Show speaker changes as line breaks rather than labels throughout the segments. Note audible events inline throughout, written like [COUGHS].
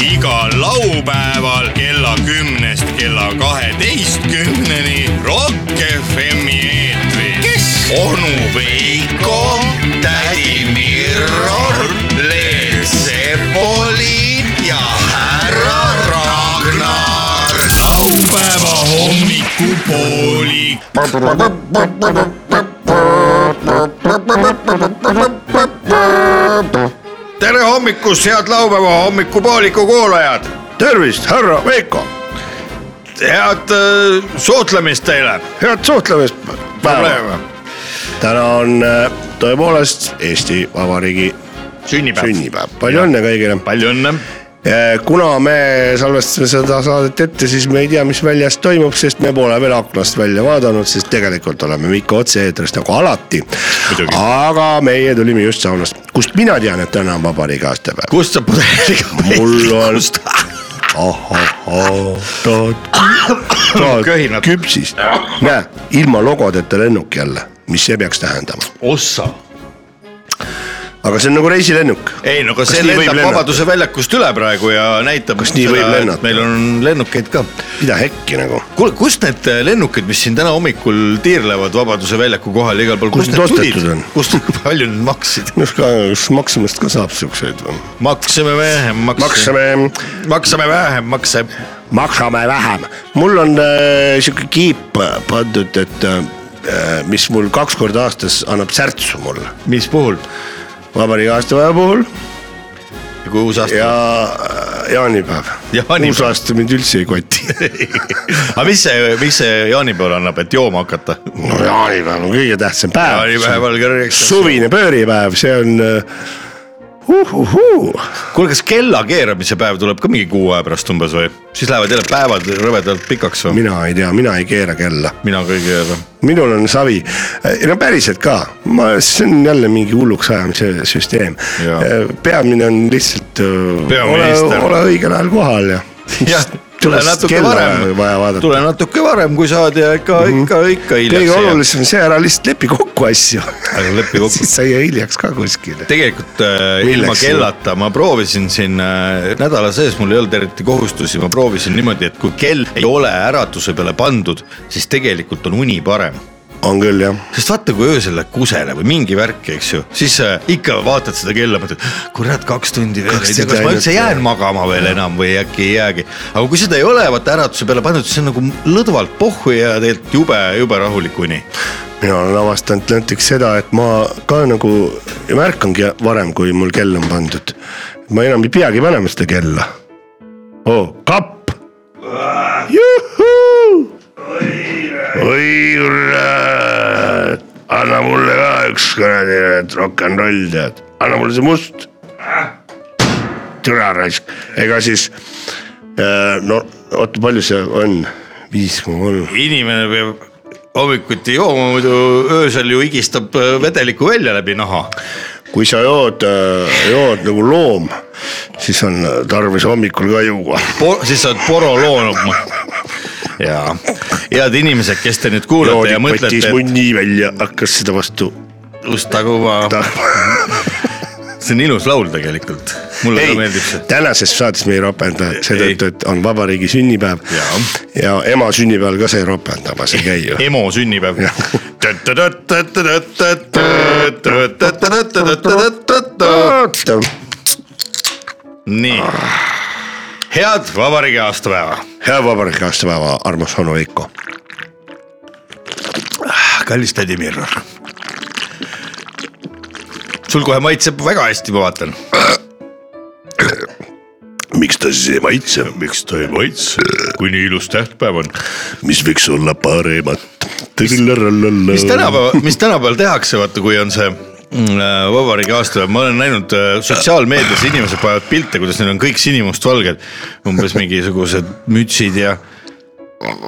igal laupäeval kella kümnest kella kaheteistkümneni Rock FM-i eetris . kes ? onu Veiko , tädi Mirror , Leel Sepoli ja härra Ragnar . laupäeva hommikupooli .
tere hommikust , head laupäeva hommikupooliku kuulajad . tervist , härra Veiko . head äh, suhtlemist teile .
head suhtlemist päeva . täna on äh, tõepoolest Eesti Vabariigi
sünnipäev .
sünnipäev , palju õnne kõigile .
palju õnne .
kuna me salvestasime seda saadet ette , siis me ei tea , mis väljas toimub , sest me pole veel aknast välja vaadanud , sest tegelikult oleme me ikka otse-eetris nagu alati . aga meie tulime just saunast , kust mina tean , et täna on vabariigi aastapäev .
kust sa pudeliga
mul on ahahah ,
Köhinad. [COUGHS]
tahad küpsist , näe ilma logodeta lennuk jälle , mis see peaks tähendama ,
ossa ?
aga see on nagu reisilennuk .
ei no aga
Kas
see
nii võib
lendab
lennata?
Vabaduse väljakust üle praegu ja näitab .
Kas nii võib lennata?
meil on lennukeid ka .
mida hekki nagu ,
kuule , kust need äh, lennukid , mis siin täna hommikul tiirlevad Vabaduse väljaku kohal ja igal pool ,
Kust
kust need tulid
need ostetud on? ,
kust , palju need [LAUGHS] maksid ?
kas ka , kas maksimast ka saab siukseid või ?
maksime vähem , maksime ,
maksame ,
maksame vähem makse
maksame vähem , mul on äh, sihuke kiip pandud , et äh, mis mul kaks korda aastas annab särtsu mulle ,
mis puhul
vabariigi aastapäeva puhul
ja kui uus aasta
ja äh, jaanipäev
Jaanipäev.
uusaasta mind üldse ei koti
aga mis see , mis see jaanipäeval annab , et jooma hakata ?
no jaanipäev on kõige tähtsam päev .
jaanipäeval kõrgeks .
suvine pööripäev , see on uh, . Uh, uh.
kuule , kas kella keeramise päev tuleb ka mingi kuu aja pärast umbes või ? siis lähevad jälle päevad rõvedalt pikaks või ?
mina ei tea , mina ei keera kella ,
mina ka ei keera .
minul on savi , no päriselt ka , ma , see on jälle mingi hulluks ajamise süsteem Äh,
Jaa. .
peamine on lihtsalt äh, ole,
Peaminister.
ole õigel ajal kohal ja .
tule
tule sest
natuke
kella
varem
on vaja , vaadata .
tule natuke varem , kui saad ja ikka mm , -hmm. ikka , ikka hiljaks
kõige . olulisem on see , ära lihtsalt lepi kokku asju
Ära lepi kokku.
[LAUGHS] siis sa ei jää hiljaks ka kuskile .
tegelikult äh,
Milleks
ilma
see?
kellata ma proovisin siin äh, nädala sees , mul ei olnud eriti kohustusi , ma proovisin niimoodi , et kui kell ei ole äratuse peale pandud , siis tegelikult on uni parem
on küll jah ,
sest vaata , kui öösel lähed kusele või mingi värk , eks ju , siis äh, ikka vaatad seda kella , mõtled , kurat , kaks tundi veel ,
Kaks
ei tea ,
tundi
kas ma
ainult,
üldse
jah.
jään magama veel enam või äkki ei jäägi . aga kui seda ei ole , vaata äratuse peale pandud , siis on nagu lõdvalt pohhu ja tegelikult jube , jube rahulik uni .
mina olen avastanud näiteks seda , et ma ka nagu märkangi varem , kui mul kell on pandud . ma enam ei peagi panema seda kella oh, . kapp . oi kurat , anna mulle ka üks kuradi et rock n roll tead , anna mulle see must . türa raisk , ega siis äh, no oota , palju see on , viis koma kolm
inimene peab hommikuti jooma , muidu öösel ju higistab äh, vedelikku välja läbi naha .
kui sa jood , jood nagu loom , siis on tarvis hommikul ka juua .
siis sa oled poroloonum . jaa , head inimesed , kes te nüüd kuulate
joodi
ja
patis
mõtlete , et
munni välja , hakkas seda vastu
Ustakuba
tahma .
see on ilus laul tegelikult , mulle
ei
ka meeldib see .,
tänases saates me ei ropenda seetõttu , et on vabariigi sünnipäev
Jaa.
ja ema sünnipäeval ka sai ropendamas ei käi ju .
EMO sünnipäev
Jah. .
nii , head vabariigi aastapäeva .
hea vabariigi aastapäeva , armas onu Veiko .
Ah, kallis tädi Mirro . sul kohe maitseb väga hästi , ma vaatan .
miks ta siis ei maitse ,
miks ta ei maitse , kui nii ilus tähtpäev on ?
mis võiks olla paremat ?
mis tänapäeval , mis tänapäeval tehakse , vaata , kui on see mm, äh, vabariigi aastapäev , ma olen näinud äh, sotsiaalmeedias inimesed panevad pilte , kuidas neil on kõik sinimustvalged , umbes mingisugused mütsid ja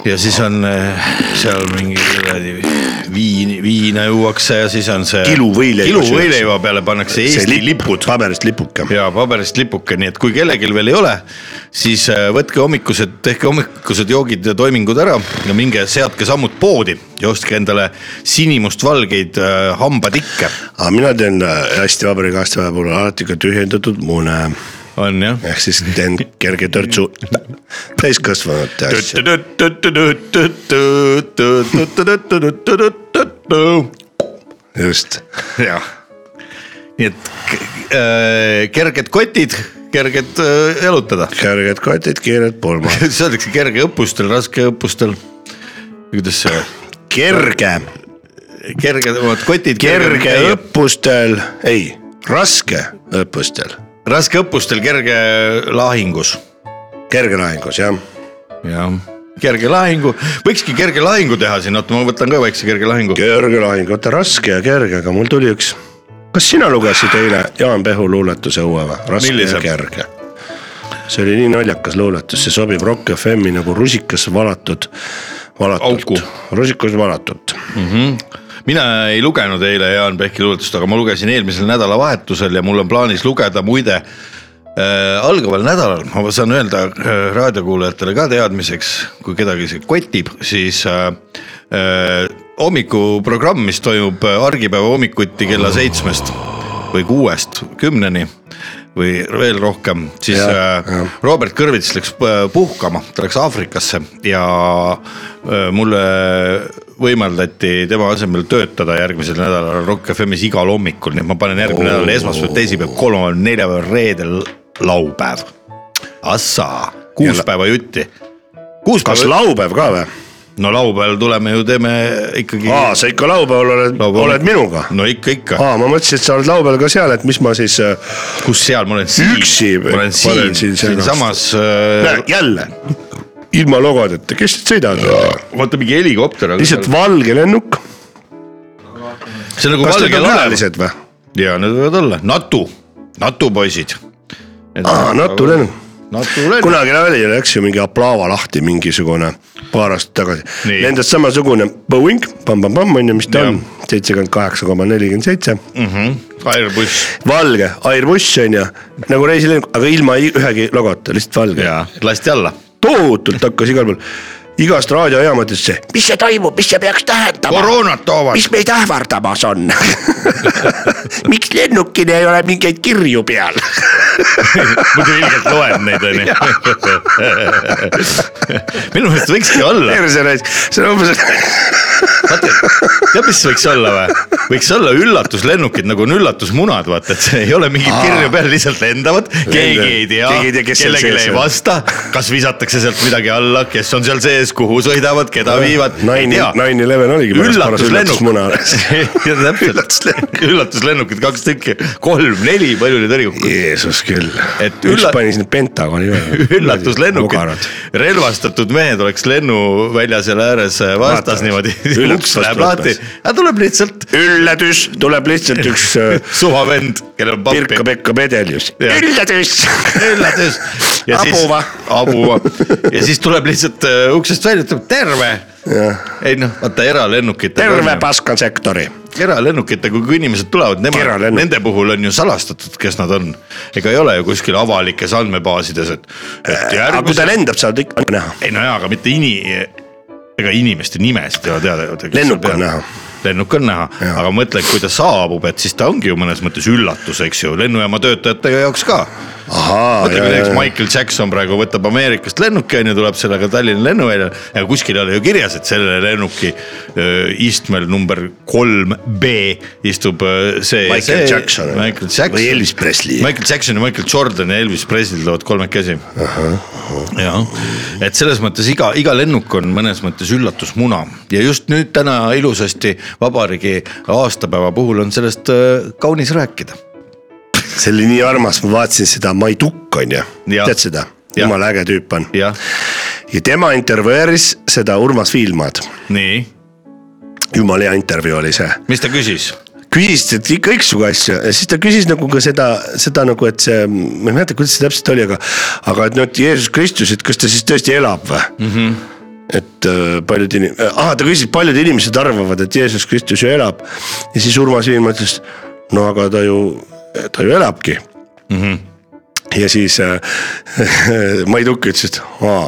ja siis on äh, seal mingi kuradi viin , viina juuakse ja siis on see
Kiluvõileiva
kiluvõileiva peale pannakse Eesti lipp
paberist lipuke .
ja paberist lipuke , nii et kui kellelgi veel ei ole , siis äh, võtke hommikused , tehke hommikused joogid ja toimingud ära ja minge seadke sammud poodi ja ostke endale sinimustvalgeid äh, hambatikke .
aga mina teen äh, hästi vabariigi aastapäeva puhul alati ka tühjendatud mune .
on jah .
ehk siis teen kerge törtsu täiskasvanute asju . just ,
jah , nii et k- äh, kerged kotid , kerged äh, [LAUGHS] jalutada ,
kerged kotid , kiired
[LAUGHS]
pulmad .
öeldakse kerge õppustel , raske õppustel . kuidas see ,
kerge ,
kerged , vot kotid .
kerge . õppustel , ei , raske õppustel ,
raske õppustel , kerge lahingus ,
kerge lahingus jah .
jah kerge lahingu , võikski kerge lahingu teha siin , oota ma võtan ka väikse kerge lahingu .
kerge lahing , oota raske ja kerge , aga mul tuli üks . kas sina lugesid eile Jaan Pehu luuletuse uue või ? raske
Millise?
ja kerge . see oli nii naljakas luuletus , see sobib Rock FM-i nagu rusikas valatud ,
Auku.
valatud , rusikas valatud .
mina ei lugenud eile Jaan Pehki luuletust , aga ma lugesin eelmisel nädalavahetusel ja mul on plaanis lugeda muide äh, algaval nädalal , ma saan öelda äh, raadiokuulajatele ka teadmiseks , kui kedagi see kotib , siis äh, äh, hommikuprogramm , mis toimub äh, argipäeva hommikuti kella seitsmest või kuuest kümneni või veel rohkem , siis
Jah,
äh, Robert Kõrvits läks äh, puhkama , ta läks Aafrikasse ja äh, mulle võimaldati tema asemel töötada järgmisel nädalal Rock FM-is igal hommikul , nii et ma panen järgmine nädal esmaspäev , teisipäev , kolmapäev , neljapäev , reedel , laupäev . Assaa , kuus
Ja-
päeva jutti . kuus
kas
päeva ,
laupäev ka või ?
no laupäeval tuleme ju teeme ikkagi .
aa , sa ikka laupäeval oled , oled minuga ?
no ikka , ikka ,
aa , ma mõtlesin , et sa oled laupäeval ka seal , et mis ma siis äh,
kus seal ma olen siin ,
Üksi või?
ma olen siin ,
Panen siin segast.
siinsamas
näe
äh, ,
jälle ilma logodeta , kes nüüd sõidavad ?
vaata mingi helikopter .
lihtsalt valge lennuk .
see on nagu
kas need
valge
on
laev .
külalised või ?
ja need võivad olla , Natu , Natu poisid .
aa , Natu lennuk .
Natu lennuk ,
[LAUGHS] kunagi oli , läks ju mingi aplaava lahti mingisugune paar aastat tagasi .
Nii.
Nendest samasugune Boeing , pamm-pamm-pamm on ju , mis ta
Jah. Mm.
on , seitsekümmend kaheksa koma nelikümmend seitse ,
Airbus
valge , Airbus on ju , nagu reisilennuk , aga ilma i- ühegi logota , lihtsalt valge .
ja lasti alla .
tohutult hakkas igal pool , igast raadiojaamades see , mis see toimub , mis see peaks tähendama ,
koroonat toovad .
mis meid ähvardamas on . [LAUGHS] miks lennukil ei ole mingeid kirju peal ?
[LAUGHS]
[LAUGHS]
muidu ilgelt loed neid onju . [LAUGHS] minu meelest võikski olla ,
see on umbes ,
vaata , tead , mis võiks olla või ? võiks olla üllatuslennukid nagu on üllatusmunad , vaata , et see ei ole mingit kirju peal , lihtsalt lendavad , keegi ei tea
Keegi ei tea, , kes seal
kellelegi
sees
ei
on.
vasta , kas visatakse sealt midagi alla , kes on seal sees , kuhu sõidavad , keda viivad , ei
nine ,
tea
nine eleven oligi .
üllatuslennuk , [LAUGHS]
Üllatuslennuk.
täpselt , üllatuslennukid kaks tükki , kolm-neli , palju neid oli ?
Jeesus küll ,
Et
üks
üllat-
pani sinna Pentagoni veel .
üllatuslennukid ,. relvastatud mehed oleks lennuvälja seal ääres vastas
Vaatavad.
niimoodi , [LAUGHS]
Üllatus
uks läheb
vastu
lahti
võtmas. ,
aga tuleb lihtsalt
üllatus , tuleb
[LAUGHS]
lihtsalt üks äh,
suvavend , kellel on pappi .
Pirka-Pekka Pedeljus .
Jah.
üllatus .
üllatus .
Abuva.
abuva ja siis tuleb lihtsalt äh, uksest välja , ütleb terve .
Jah.
ei noh , vaata eralennukid .
terve paskan sektori .
eralennukitega , kui inimesed tulevad , nemad ,
Eralennuk.
nende puhul on ju salastatud , kes nad on . ega ei ole ju kuskil avalikes andmebaasides , et , et
Äh, aga kui ta
järgmise ,
lendab , saad ikka näha .
ei no jaa , aga mitte ini- , ega inimeste nimesid ei ole teada .
Lennuk on näha. .
lennuk on näha ,
Jaa.
aga mõtle , kui ta saabub , et siis ta ongi ju mõnes mõttes üllatus , eks ju , lennujaama töötajate jaoks ka .
ahaa ,
mõtle , kui näiteks Michael Jackson praegu võtab Ameerikast lennuki on ju , tuleb sellega Tallinna lennuväljale , aga kuskil ei ole ju kirjas , et selle lennuki öö, istmel number kolm B istub öö, see . see,
Michael Jackson.
Michael Jackson .
Või Elvis Presley.
Michael Jackson ja Michael Jordan ja Elvis Presley tulevad kolmekesi . jah , et selles mõttes iga , iga lennuk on mõnes mõttes üllatusmuna ja just nüüd täna ilusasti vabariigi aastapäeva puhul on sellest öö, kaunis rääkida
see oli nii armas , ma vaatasin seda Mai Tukk on ju ,
Jah.
tead seda ,
Jah.
jumala äge tüüp on .
jah ,
ja tema intervjueeris seda Urmas Viilmaad ,
nii ,
jumala hea intervjuu oli see
mis ta küsis ?
küsisid kõiksugu asju ja siis ta küsis nagu ka seda , seda nagu , et see , ma ei mäleta , kuidas see täpselt oli , aga , aga et noh , et Jeesus Kristus , et kas ta siis tõesti elab või mm ? -hmm. et äh, paljud inim- , ah ta küsis , paljud inimesed arvavad , et Jeesus Kristus ju elab ja siis Urmas Viilma ütles , no aga ta ju , ta ju elabki mm . [LAUGHS] -hmm. ja siis äh, Maiduki ütles , et aa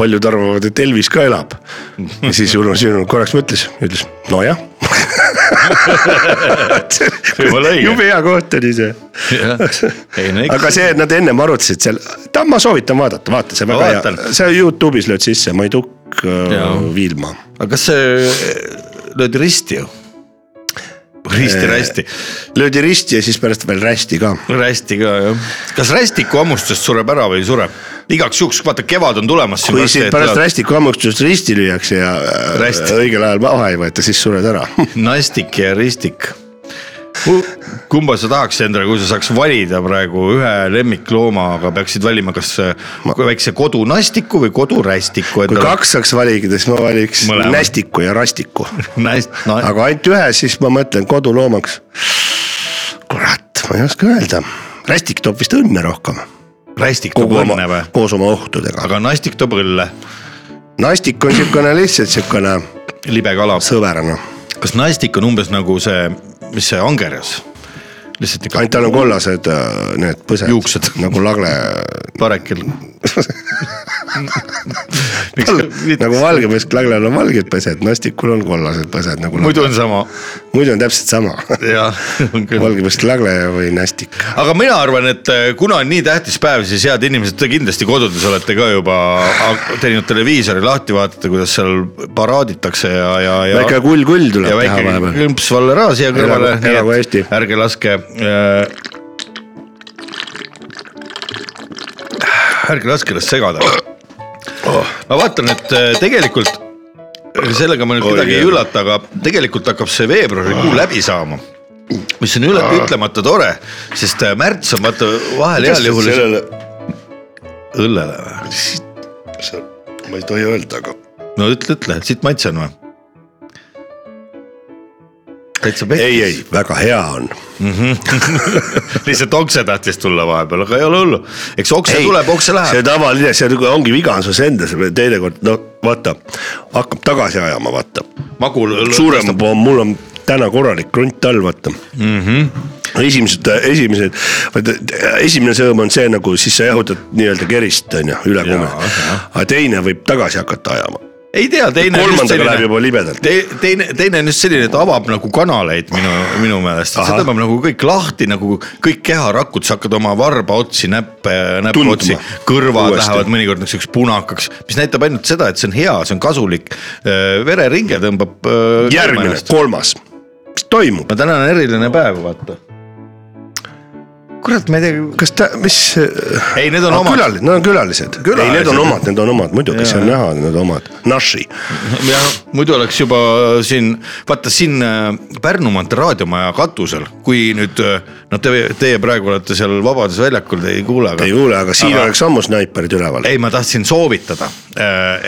paljud arvavad, et Elvis ka elab. ja siis Urmas Jürgen korraks mõtles, ütles nojah [LAUGHS]
Jumala õige.
jube hea koht oli see . [LAUGHS]
Ei, no eks-
aga see , et nad ennem arutasid seal , ta , ma soovitan vaadata , vaata see on
Ma
väga
vaatan.
hea , sa Youtube'is lööd sisse , Maiduk
Jaa.
äh, Viilma .
aga kas see , löödi risti ju ? risti , rästi ,
löödi risti ja siis pärast veel rästi ka .
rästi ka jah . kas rästiku hammustest sureb ära või ei sure ? igaks juhuks , vaata kevad on tulemas .
kui sind pärast . rästiku hammustust risti lüüakse ja äh,
Räst.
õigel ajal maha ei võeta , siis sured ära .
nastik ja ristik . kumba sa tahaks endale , kui sa saaks valida praegu ühe lemmiklooma , aga peaksid valima , kas Ma... väikse kodunastiku või kodurästiku
kui
endale .
kaks saaks valida , siis ma valiks
Mõlemad.
nästiku ja rastiku .
Nast... No, aga...
aga ainult ühe , siis ma mõtlen koduloomaks . kurat , ma ei oska öelda . rästik toob vist õnne rohkem .
Rästik toob
kogu oma
õnne või ?,
koos oma ohtudega .
aga nastik toob õlle ,
nastik on siukene lihtsalt siukene
libe kala .
sõverana .
kas nastik on umbes nagu see , mis see angerjas ? lihtsalt ikka
ainult tal on kollased äh, need põsed .
Juuksed.
[LAUGHS] nagu lagle ,
parekil .
nagu valgemees laglel on valged põsed , nastikul on kollased põsed nagu .
muidu on sama ,
muidu on täpselt sama [LAUGHS]
jah , on küll .
valgemeest lagleja või nastik .
aga mina arvan , et äh, kuna on nii tähtis päev , siis head inimesed , te kindlasti kodudes olete ka juba a- teinud televiisori lahti , vaatate , kuidas seal paraaditakse ja , ja , ja .
väike kull-kull
ja
tuleb teha
väike
vahepeal .
klõmps Valleraa siia kõrvale ,
Elagu- elagu Eesti.
ärge laske äh, . ärge laske ennast segada oh. . ma vaatan , et äh, tegelikult sellega ma nüüd
Oi,
kedagi ei
jah.
üllata , aga tegelikult hakkab see veebruarikuu läbi saama mis on
Ah.
üle , ütlemata tore , sest äh, märts on vaata vahel heal juhul
sellele ,
õllele või ?
ma ei tohi öelda , aga .
no ütle , ütle , siit maitse on või ? täitsa pehme .
ei , ei , väga hea on .
lihtsalt okse tahtis tulla vahepeal , aga ei ole hullu , eks okse ei, tuleb , okse
see
läheb .
tavaline , see nagu ongi viga on sus endas , teinekord no vaata , hakkab tagasi ajama , vaata .
magul .
suurem . pomm , mul on täna korralik krunt all , vaata mm .
Mhm.
-hmm. esimesed , esimesed , vaata esimene sõõm on see nagu siis sa jahutad nii-öelda kerist onju , üle kuumelt . aga teine võib tagasi hakata ajama .
ei tea , teine .
kolmandaga läheb juba libedalt .
Te, teine , teine on just selline , et avab nagu kanaleid minu , minu meelest , see
Ahah.
tõmbab nagu kõik lahti nagu kõik keharakud , sa hakkad oma varbaotsi , näppe , näpuotsi
Tundma. ,
kõrvad
Uuesti.
Uuesti. lähevad mõnikord niisuguseks punakaks , mis näitab ainult seda , et see on hea , see on kasulik . vereringe tõmbab .
järgmine , kolmas , mis toimub ,
no täna on eriline päev , vaata . kurat , ma ei tea .
kas ta , mis ?
ei , need on omad .
Ah, külalised , need on külalised, külalised. , ei need on omad , need on omad muidugi , see on näha , need on omad , naši .
jah , muidu oleks juba äh, siin , vaata siin äh, Pärnumaalt raadiomaja katusel , kui nüüd äh, noh , te , teie praegu olete seal Vabaduse väljakul , te ei kuule , aga
ei . kuule , aga siin
Aga-
aga... oleks ammu snaiperid üleval .
ei , ma tahtsin soovitada ,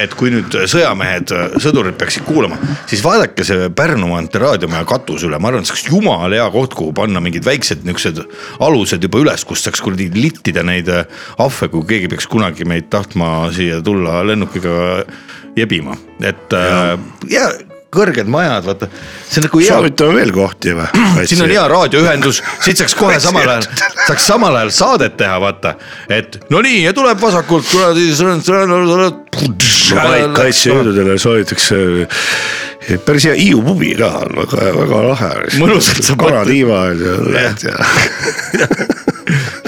et kui nüüd sõjamehed , sõdurid peaksid kuulama , siis vaadake see Pärnumaalt raadiomaja katus üle , ma arvan , see oleks jumala hea koht , kuhu panna mingid väiksed niuksed alused juba üles , kus saaks kuradi littida neid äh, ahve , kui keegi peaks kunagi meid tahtma siia tulla lennukiga jebima , et äh, ja kõrged majad , vaata , see on nagu hea
soovitame veel kohti või ?
siin on hea . raadioühendus , siit saaks kohe samal ajal , saaks samal ajal saadet teha , vaata . et no nii ja tuleb vasakult kuradi .
kaitsejõududele soovitakse eh, päris hea Hiiu pubi ka on väga , väga lahe .
Mõnusalt saab
kanatiiva on ju , lähed ja .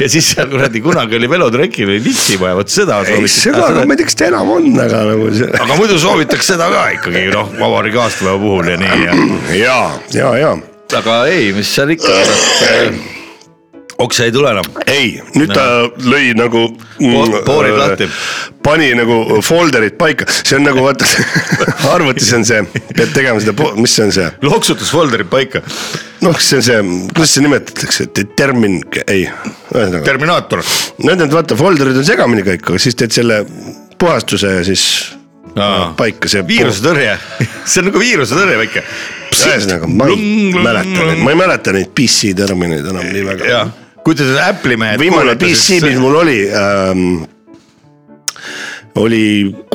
ja siis seal kuradi kunagi oli velotrekil oli litsimaja , vot seda
ei , seda , aga
soovitaks .
ma ei tea , kas ta enam on , aga nagu see .
aga muidu soovitaks seda ka ikkagi noh , vabariigi aastapäeva puhul ja nii ja .
ja , ja , ja
aga ei , mis seal ikka , okse ei tule enam .
ei , nüüd no. ta lõi nagu äh,
Po- poorid lahti. .
pani nagu folder'id paika , see on nagu
[LAUGHS]
vaata arvutis on see , pead tegema seda , mis see on see ,
loksutusfolderid paika ,
noh , see on see , kuidas see nimetatakse , termin , ei , ühesõnaga .
Terminaator .
Need on vaata folder'id on segamini kõik , aga siis teed selle puhastuse ja siis paika see .
viirusetõrje , [LAUGHS] see on nagu viirusetõrje väike .
ühesõnaga , nagu ma ei
Lung, lung,
mäleta neid ,
lung.
ma ei mäleta neid PC termineid enam nii väga .
jah , kui te seda Apple'i mehed .
viimane PC , mis mul oli ähm, , oli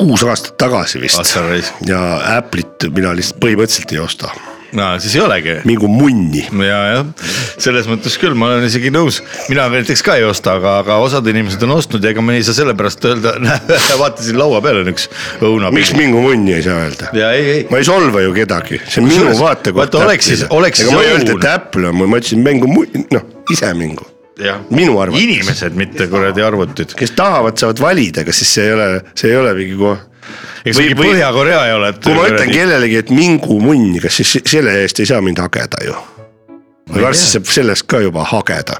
kuus aastat tagasi vist
Astral Race. Ah,
ja Apple'it mina lihtsalt põhimõtteliselt ei osta .
no siis ei olegi
mingu munni .
ja , jah , selles mõttes küll , ma olen isegi nõus , mina näiteks ka ei osta , aga , aga osad inimesed on ostnud ja ega ma ei saa sellepärast öelda , [LAUGHS] vaatasin laua peal on üks
miks
õunapilv .
mingu munni ei saa öelda ?
ja ei , ei ,
ma ei solva ju kedagi , see on minu
Kusjuures,
vaatekoht .
vaata, oleks siis- oleks
ega
siis
ma ei öelnud ,
õun.
et Apple on mul , ma ütlesin mängu , noh ise mängu .
jah ,
minu arvates.
inimesed , mitte kuradi arvutid .
kes tahavad , saavad valida , kas siis see ei ole , see ei ole mingi koht .
ega see mingi Põhja-Korea ei ole , et .
kui ma ütlen . kellelegi , et mingu munni , kas siis selle eest ei saa mind hageda ju ? varsti saab sellest ka juba hageda .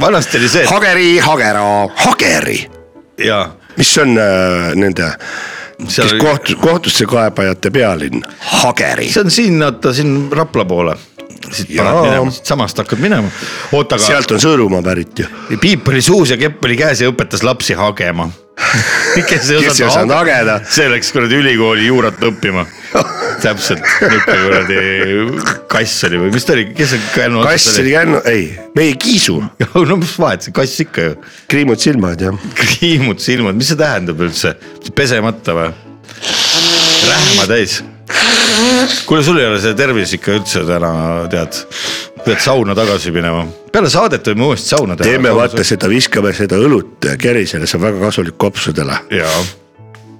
vanasti oli see ,
Hageri , Hagera , Hageri ,
et jaa .
mis on äh, nende , kes
see
kohtu , kohtusse kaebajate pealinn , Hageri .
on siin , oota siin Rapla poole . siit
Jaa.
paned minema , siitsamast hakkad minema . oota , aga
sealt on Sõõrumaa pärit ju .
piip oli suus ja kepp oli käes ja õpetas lapsi hagema .
[LAUGHS]
kes
kes ei osanud hageda ,
see läks kuradi ülikooli juurat õppima . täpselt , niuke kuradi kass oli või mis ta oli , kes see kännu
kass oli ? kännu , ei , meie kiisu ,
[LAUGHS] no mis vahet , see kass ikka ju .
kriimud silmad jah .
kriimud silmad , mis see tähendab üldse , pesemata või ? rähma täis . kuule , sul ei ole see tervis ikka üldse täna , tead , pead sauna tagasi minema , peale saadet võime uuesti sauna teha .
teeme vaata . seda , viskame seda õlut kerisele , see on väga kasulik kopsudele .
jaa ,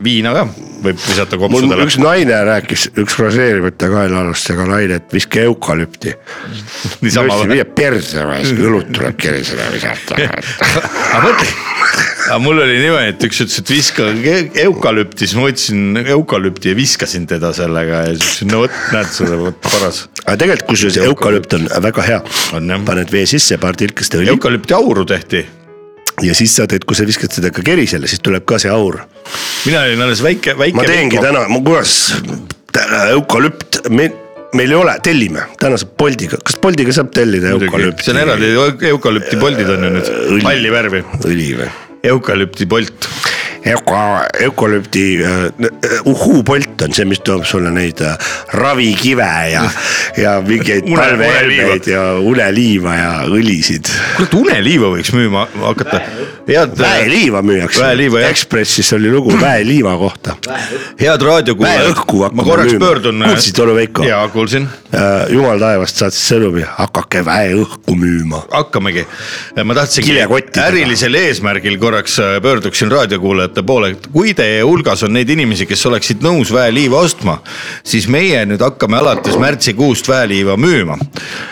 viina ka võib visata
mul
kopsudele .
üks naine rääkis , üks fraseerimata kaelaarustega naine , et viska eukalüpti .
niisama või ?
viia perse vahest , õlut tuleb kerisele visata .
[LAUGHS] aga mõtle , aga mul oli niimoodi , et üks ütles , et viska ke- eukalüpti , siis ma võtsin eukalüpti ja viskasin teda sellega ja siis ütlesin , no vot , näed seda , vot paras .
aga tegelikult , kusjuures eukalüpt on väga hea
On, jah. .
paned vee sisse , paar tilkest õli
eukalüpti auru tehti ,
ja siis sa teed , kui sa viskad seda ka kerisele , siis tuleb ka see aur
mina olin alles väike , väike .
ma teengi . täna , ma kuras , eukalüpt , meil , meil ei ole , tellime , täna saab Boltiga , kas Boltiga saab tellida eukalüpti ?
see on eraldi , eukalüpti poldid on ju nüüd ,
Õli.
halli värvi ,
õli või ?
eukalüpti polt .
Euka , eukalüpti , uhuu Bolt eh, on see , mis toob sulle neid äh, ravikive ja , ja mingeid
Une- uneliiva.
palvehelmeid ja uneliiva ja õlisid .
kurat , uneliiva võiks müüma hakata , head ,
väeliiva müüakse
Väeliiva, . jah.
Ekspressis oli lugu väeliiva kohta .
head raadiokuulajad
väeõhku .
ma
hakkame
korraks
müüma.
pöördun .
Kuulsid, Olo Veiko?
jaa , kuulsin
Eh, jumal taevast saatis sõnumi , hakake väeõhku müüma .
hakkamegi , ma tahtsin
Kilekottidega.
ärilisel eesmärgil korraks äh, pöörduksin raadiokuulajate poole , et kui teie hulgas on neid inimesi , kes oleksid nõus väeliiva ostma , siis meie nüüd hakkame alates märtsikuust väeliiva müüma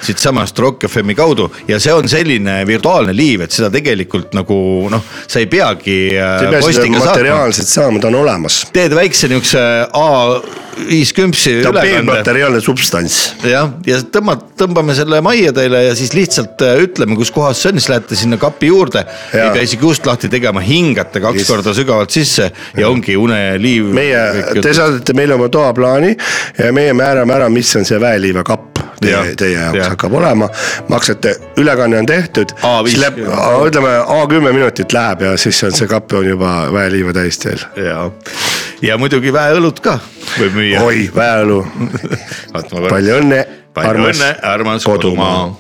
siitsamast Rock FM-i kaudu ja see on selline virtuaalne liiv , et seda tegelikult nagu noh , sa ei peagi äh,
sa ei pea seda
postiga saatma
materiaalselt saama , ta on olemas
teed väikse niisuguse A viis kümpsi
ta on
ülekande
peenmateriaalne substants .
jah , ja tõmbad , tõmbame selle majja teile ja siis lihtsalt äh, ütleme , kus kohas see on , siis lähete sinna kapi juurde . ei
Jaa.
pea isegi ust lahti tegema , hingate kaks
Just.
Just. korda sügavalt sisse ja ongi uneliiv .
meie , te saadate meile oma toaplaani ja meie määrame ära , mis on see väeliivakapp .
Jah,
Teie, teie jaoks
jah.
ja. hakkab olema , maksate , ülekanne on tehtud ,
A5.
siis läheb , ütleme A kümme minutit läheb ja siis on see kapp on juba väeliiva täis teil .
ja , ja muidugi väeõlut ka võib müüa .
oi ,
[LAUGHS]
väeõlu , palju õnne ,
palju
armas
õnne , armas kodumaa .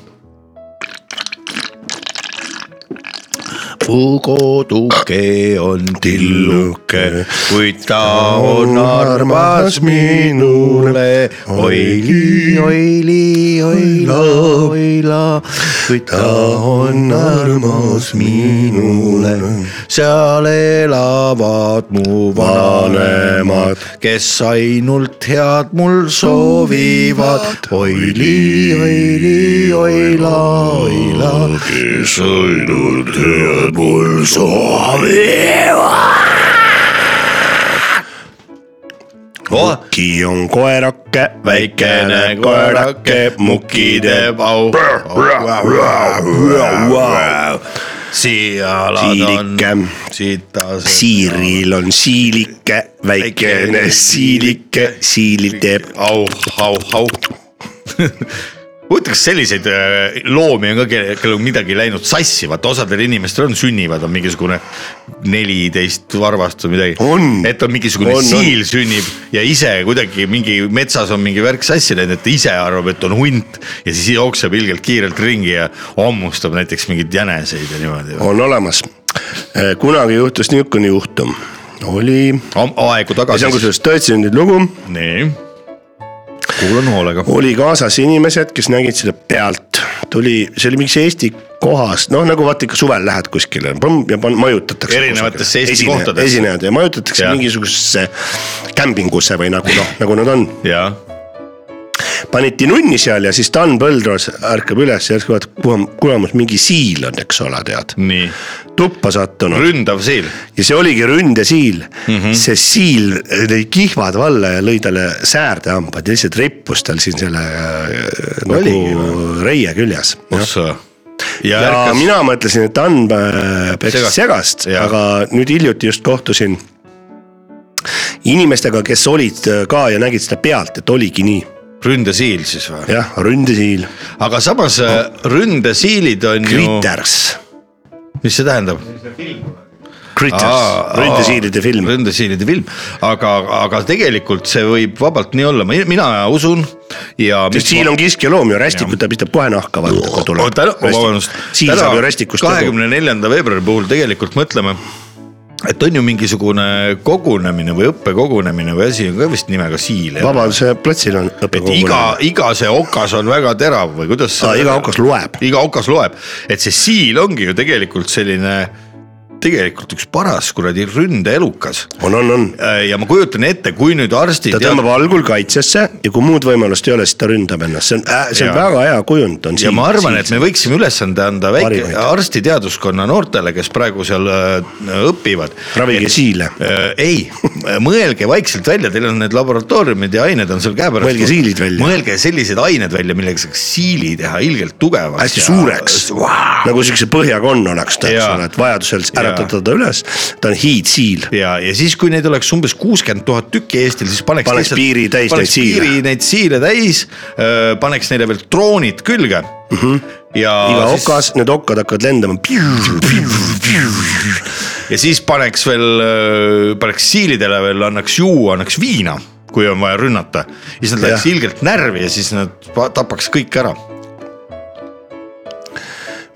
mu koduke on tilluke , kuid ta on armas minule . oili , oili , oila , oila , kuid ta on armas minule . seal elavad mu vanemad , kes ainult head mul soovivad . oili , oili , oila , oila
kes ainult head mul soovivad .
oh, .
Muki on koerake ,
väikene koerake , muki teeb au . siia alad on
Siilike.
sitased .
siiril on siilike , väikene siilike , siilil teeb .
au , au , au . huvitav , kas selliseid äh, loomi on ka , kellel on midagi läinud sassi , vaata osadel inimestel on , sünnivad , on mingisugune neliteist varvast või midagi
On. .
et on mingisugune
On,
on,
on.
siil on. sünnib ja ise kuidagi mingi metsas on mingi värk sassi läinud , et ta ise arvab , et on hunt ja siis jookseb ilgelt kiirelt ringi ja hammustab näiteks mingeid jäneseid ja niimoodi .
on olemas . kunagi juhtus niisugune juhtum , oli ,
aegu
see on
tagasi .
kusjuures Tõetsündid lugu ,
nii , kuulan hoolega .
oli kaasas inimesed , kes nägid seda pealt , tuli , see oli mingis Eesti kohas , noh nagu vaata ikka suvel lähed kuskile põmm ja pan- majutatakse .
Erinevatesse Eesti kohtadesse.
esinejad ja majutatakse
Jaa.
ja. mingisugusesse kämbingusse või nagu noh , nagu nad on .
jaa ,
paniti nunni seal ja siis Dan Põldros ärkab üles ja järsku vaatab , kuhu on , kuramus mingi siil on , eks ole , tead ,
nii ,
tuppa sattunud
ründav siil ,
ja see oligi ründesiil mm .
Mhm.
-hmm. see siil lõi kihvad valla ja lõi talle säärdehambad ja lihtsalt rippus tal siin selle äh,
Oligi
nagu reie küljes .
ossa . ja,
ja
ja
Järkas.
mina...
mina mõtlesin , et Dan äh, peksis
Segast.
segast, segast ,
Jaa.
aga nüüd hiljuti just kohtusin inimestega , kes olid äh, ka ja nägid seda pealt , et oligi nii ,
ründesiil siis või ?
jah , ründesiil ,
aga samas äh, ründesiilid on ju ,
Critters .
mis see tähendab ?
Critters , ründesiilide film .
ründesiilide film , aga , aga tegelikult see võib vabalt nii olla , mina usun ja .
sest siil on kiskjaloom ju , rästikut ta pistab kohe nahka , vaata kui tuleb .
oota , vabandust .
siil saab ju rästikust kogu .
kahekümne neljanda veebruari puhul tegelikult mõtleme , et on ju mingisugune kogunemine või õppekogunemine või asi on ka vist nimega siil .
Vabaduse platsil on
et iga
õppekogu .,
iga see okas on väga terav või kuidas
Aa, iga okas loeb.
iga okas loeb , et see siil ongi ju tegelikult selline , tegelikult üks paras kuradi ründeelukas .
on , on , on .
ja ma kujutan ette , kui nüüd arstid
ta tõmbab algul kaitsesse ja kui muud võimalust ei ole , siis ta ründab ennast , see on , see on
Jaa.
väga hea kujund on
ja ma arvan , et me võiksime ülesande anda väike
Varivaid.
arstiteaduskonna noortele , kes praegu seal äh, õpivad .
ravige siile ,
ei , mõelge vaikselt välja , teil on need laboratooriumid ja ained on seal käepärast .
Mõelge siilid välja.
mõelge sellised ained välja , millega saaks siili teha ilgelt tugevaks .
hästi suureks , nagu siukse põhjakonn oleks ta , eks
Jaa.
ole , et vajadusel
Jaa.
äratada ta üles , ta on hiidsiil .
ja , ja siis , kui neid oleks umbes kuuskümmend tuhat tükki Eestil , siis paneks .
Paneks piiri täis
paneks
neid siile.
piiri neid siile täis , paneks neile veel droonid külge mm .
Mhm.
-hmm. ja .
iga okas , need okkad hakkavad lendama .
ja siis paneks veel , paneks siilidele veel , annaks juua , annaks viina , kui on vaja rünnata . siis nad läheks
Jah.
ilgelt närvi ja siis nad pa- tapaks kõik ära .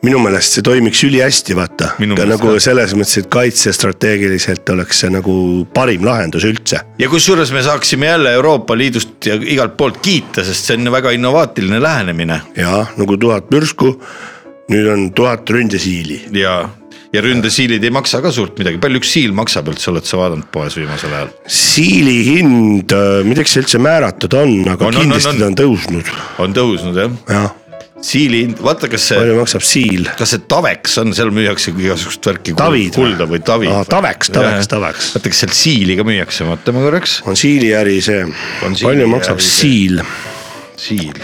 minu meelest see toimiks ülihästi , vaata .
Minu
ka
meelest
nagu
ka.
selles mõttes , et kaitsestrateegiliselt oleks see nagu parim lahendus üldse .
ja kusjuures me saaksime jälle Euroopa Liidust ja igalt poolt kiita , sest see on väga innovaatiline lähenemine
jaa , nagu tuhat mürsku , nüüd on tuhat ründesiili .
ja , ja ründesiilid ei maksa ka suurt midagi , palju üks siil maksab üldse , oled sa vaadanud poes viimasel ajal ?
siili hind , midagi see üldse määratud on , aga
On,
on,
on,
kindlasti
on, on.
on, on. ta on tõusnud .
on tõusnud jah ,
jah ,
siili hind , vaata kas see ,
palju maksab siil ?
kas see taveks on , seal müüakse igasugust värki ,
Tavid või?
kulda või tavi
Aa, . taveks, taveks, taveks.
vaata , kas seal siili ka müüakse , vaata ma korraks ,
on siiliäri see ,
siili
palju maksab
äri see.
siil ?
siil ,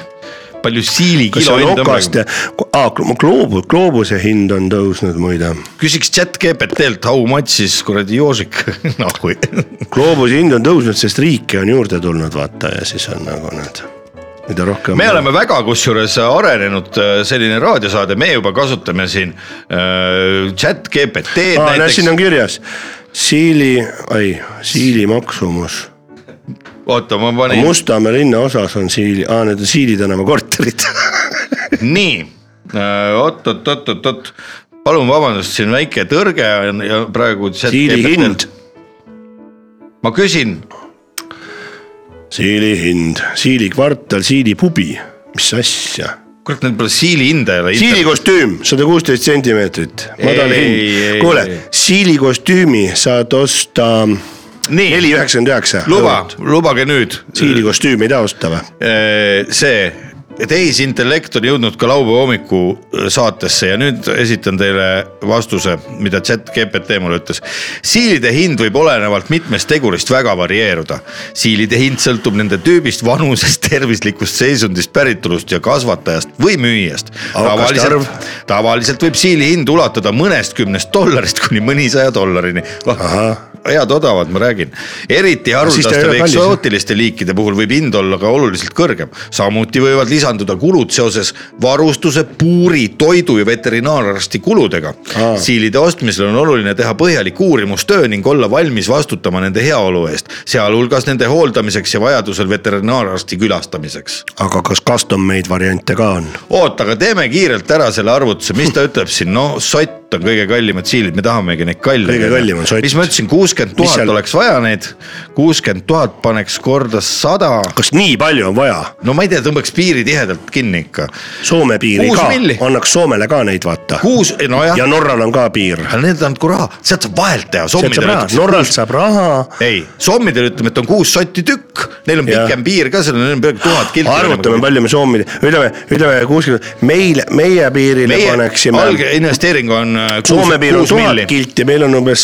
palju siili
kas see
kilo
on
hind on
okast
praegu
ja ,, aa , gloobus , gloobuse hind on tõusnud muide .
küsiks chat GPT-lt how much is kuradi joosik , [LAUGHS] noh kui
gloobuse hind on tõusnud , sest riike on juurde tulnud , vaata ja siis on nagu need , mida rohkem .
me oleme väga kusjuures arenenud äh, selline raadiosaade , me juba kasutame siin äh, chat GPT-d
aa , näed ,
näiteks
siin on kirjas siili , ai , siili maksumus .
oota , ma panin Must... ,
Mustamäe linnaosas on siili , aa , need on Siili tänava
[LAUGHS]
korterid
nii . Äh, oot-oot-oot-oot-oot , palun vabandust , siin väike tõrge on ja praegu .
siili hind ,.
ma küsin ,
Siili hind , Siili kvartal , Siili pubi , mis asja .
kurat , need pole siili hinda ei ole .
Siili kostüüm sada kuusteist sentimeetrit , madal
Ei,
hind
ei, . ei.
kuule , Siili kostüümi saad osta neli
nii ,
üheksakümmend üheksa .
luba , lubage nüüd .
Siili kostüümi ei taha osta või ?
Äh, see tehisintellekt on jõudnud ka laupäeva hommiku äh, saatesse ja nüüd esitan teile vastuse , mida chat GPT mulle ütles . siilide hind võib olenevalt mitmest tegurist väga varieeruda . siilide hind sõltub nende tüübist , vanusest , tervislikust seisundist , päritolust ja kasvatajast või müüjast .
Avakas tarv.
tavaliselt , tavaliselt võib siili hind ulatuda mõnest kümnest dollarist kuni mõnisaja dollarini .
ahah ,
head odavad , ma räägin , eriti
siis ta ei
haruldaste
ole
või
kallis, jah?
eksootiliste liikide puhul võib hind olla ka oluliselt kõrgem . samuti võivad lisanduda kulud seoses varustuse , puuri , toidu ja veterinaararsti kuludega
Aa. .
siilide ostmisel on oluline teha põhjalik uurimustöö ning olla valmis vastutama nende heaolu eest , sealhulgas nende hooldamiseks ja vajadusel veterinaararsti külastamiseks .
aga kas custom made variante ka on ?
oota , aga teeme kiirelt ära selle arvutuse , mis ta ütleb siin , no sott sott on kõige kallimad siilid, me tahamegi neid kalle .
Kõige kallim on sott.
mis ma ütlesin , kuuskümmend
Mis
tuhat
seal-
oleks vaja neid , kuuskümmend tuhat paneks korda sada .
kas nii palju on vaja ?
no ma ei tea , tõmbaks piiri tihedalt kinni ikka .
Soome piiri
Kuus
ka
milli. ,
annaks Soomele ka neid vaata .
kuus , nojah
ja , Norral on ka piir .
aga need andku raha , sealt saab vahelt teha , sommidele ütleks .
Norralt saab raha .
ei , sommidele ütleme , et on kuus sotti tükk , neil on
Jah.
pikem piir ka seal , neil on peaaegu tuhat kilti .
arvutame ,
nagu
palju me Soome , ütleme , ütleme kuuskümmend , meil , meie piirile meie
meie
paneksime
algne investeering on äh, kuus,
Soome piir on
kuus
tuhat
milli.
kilti , meil on umbes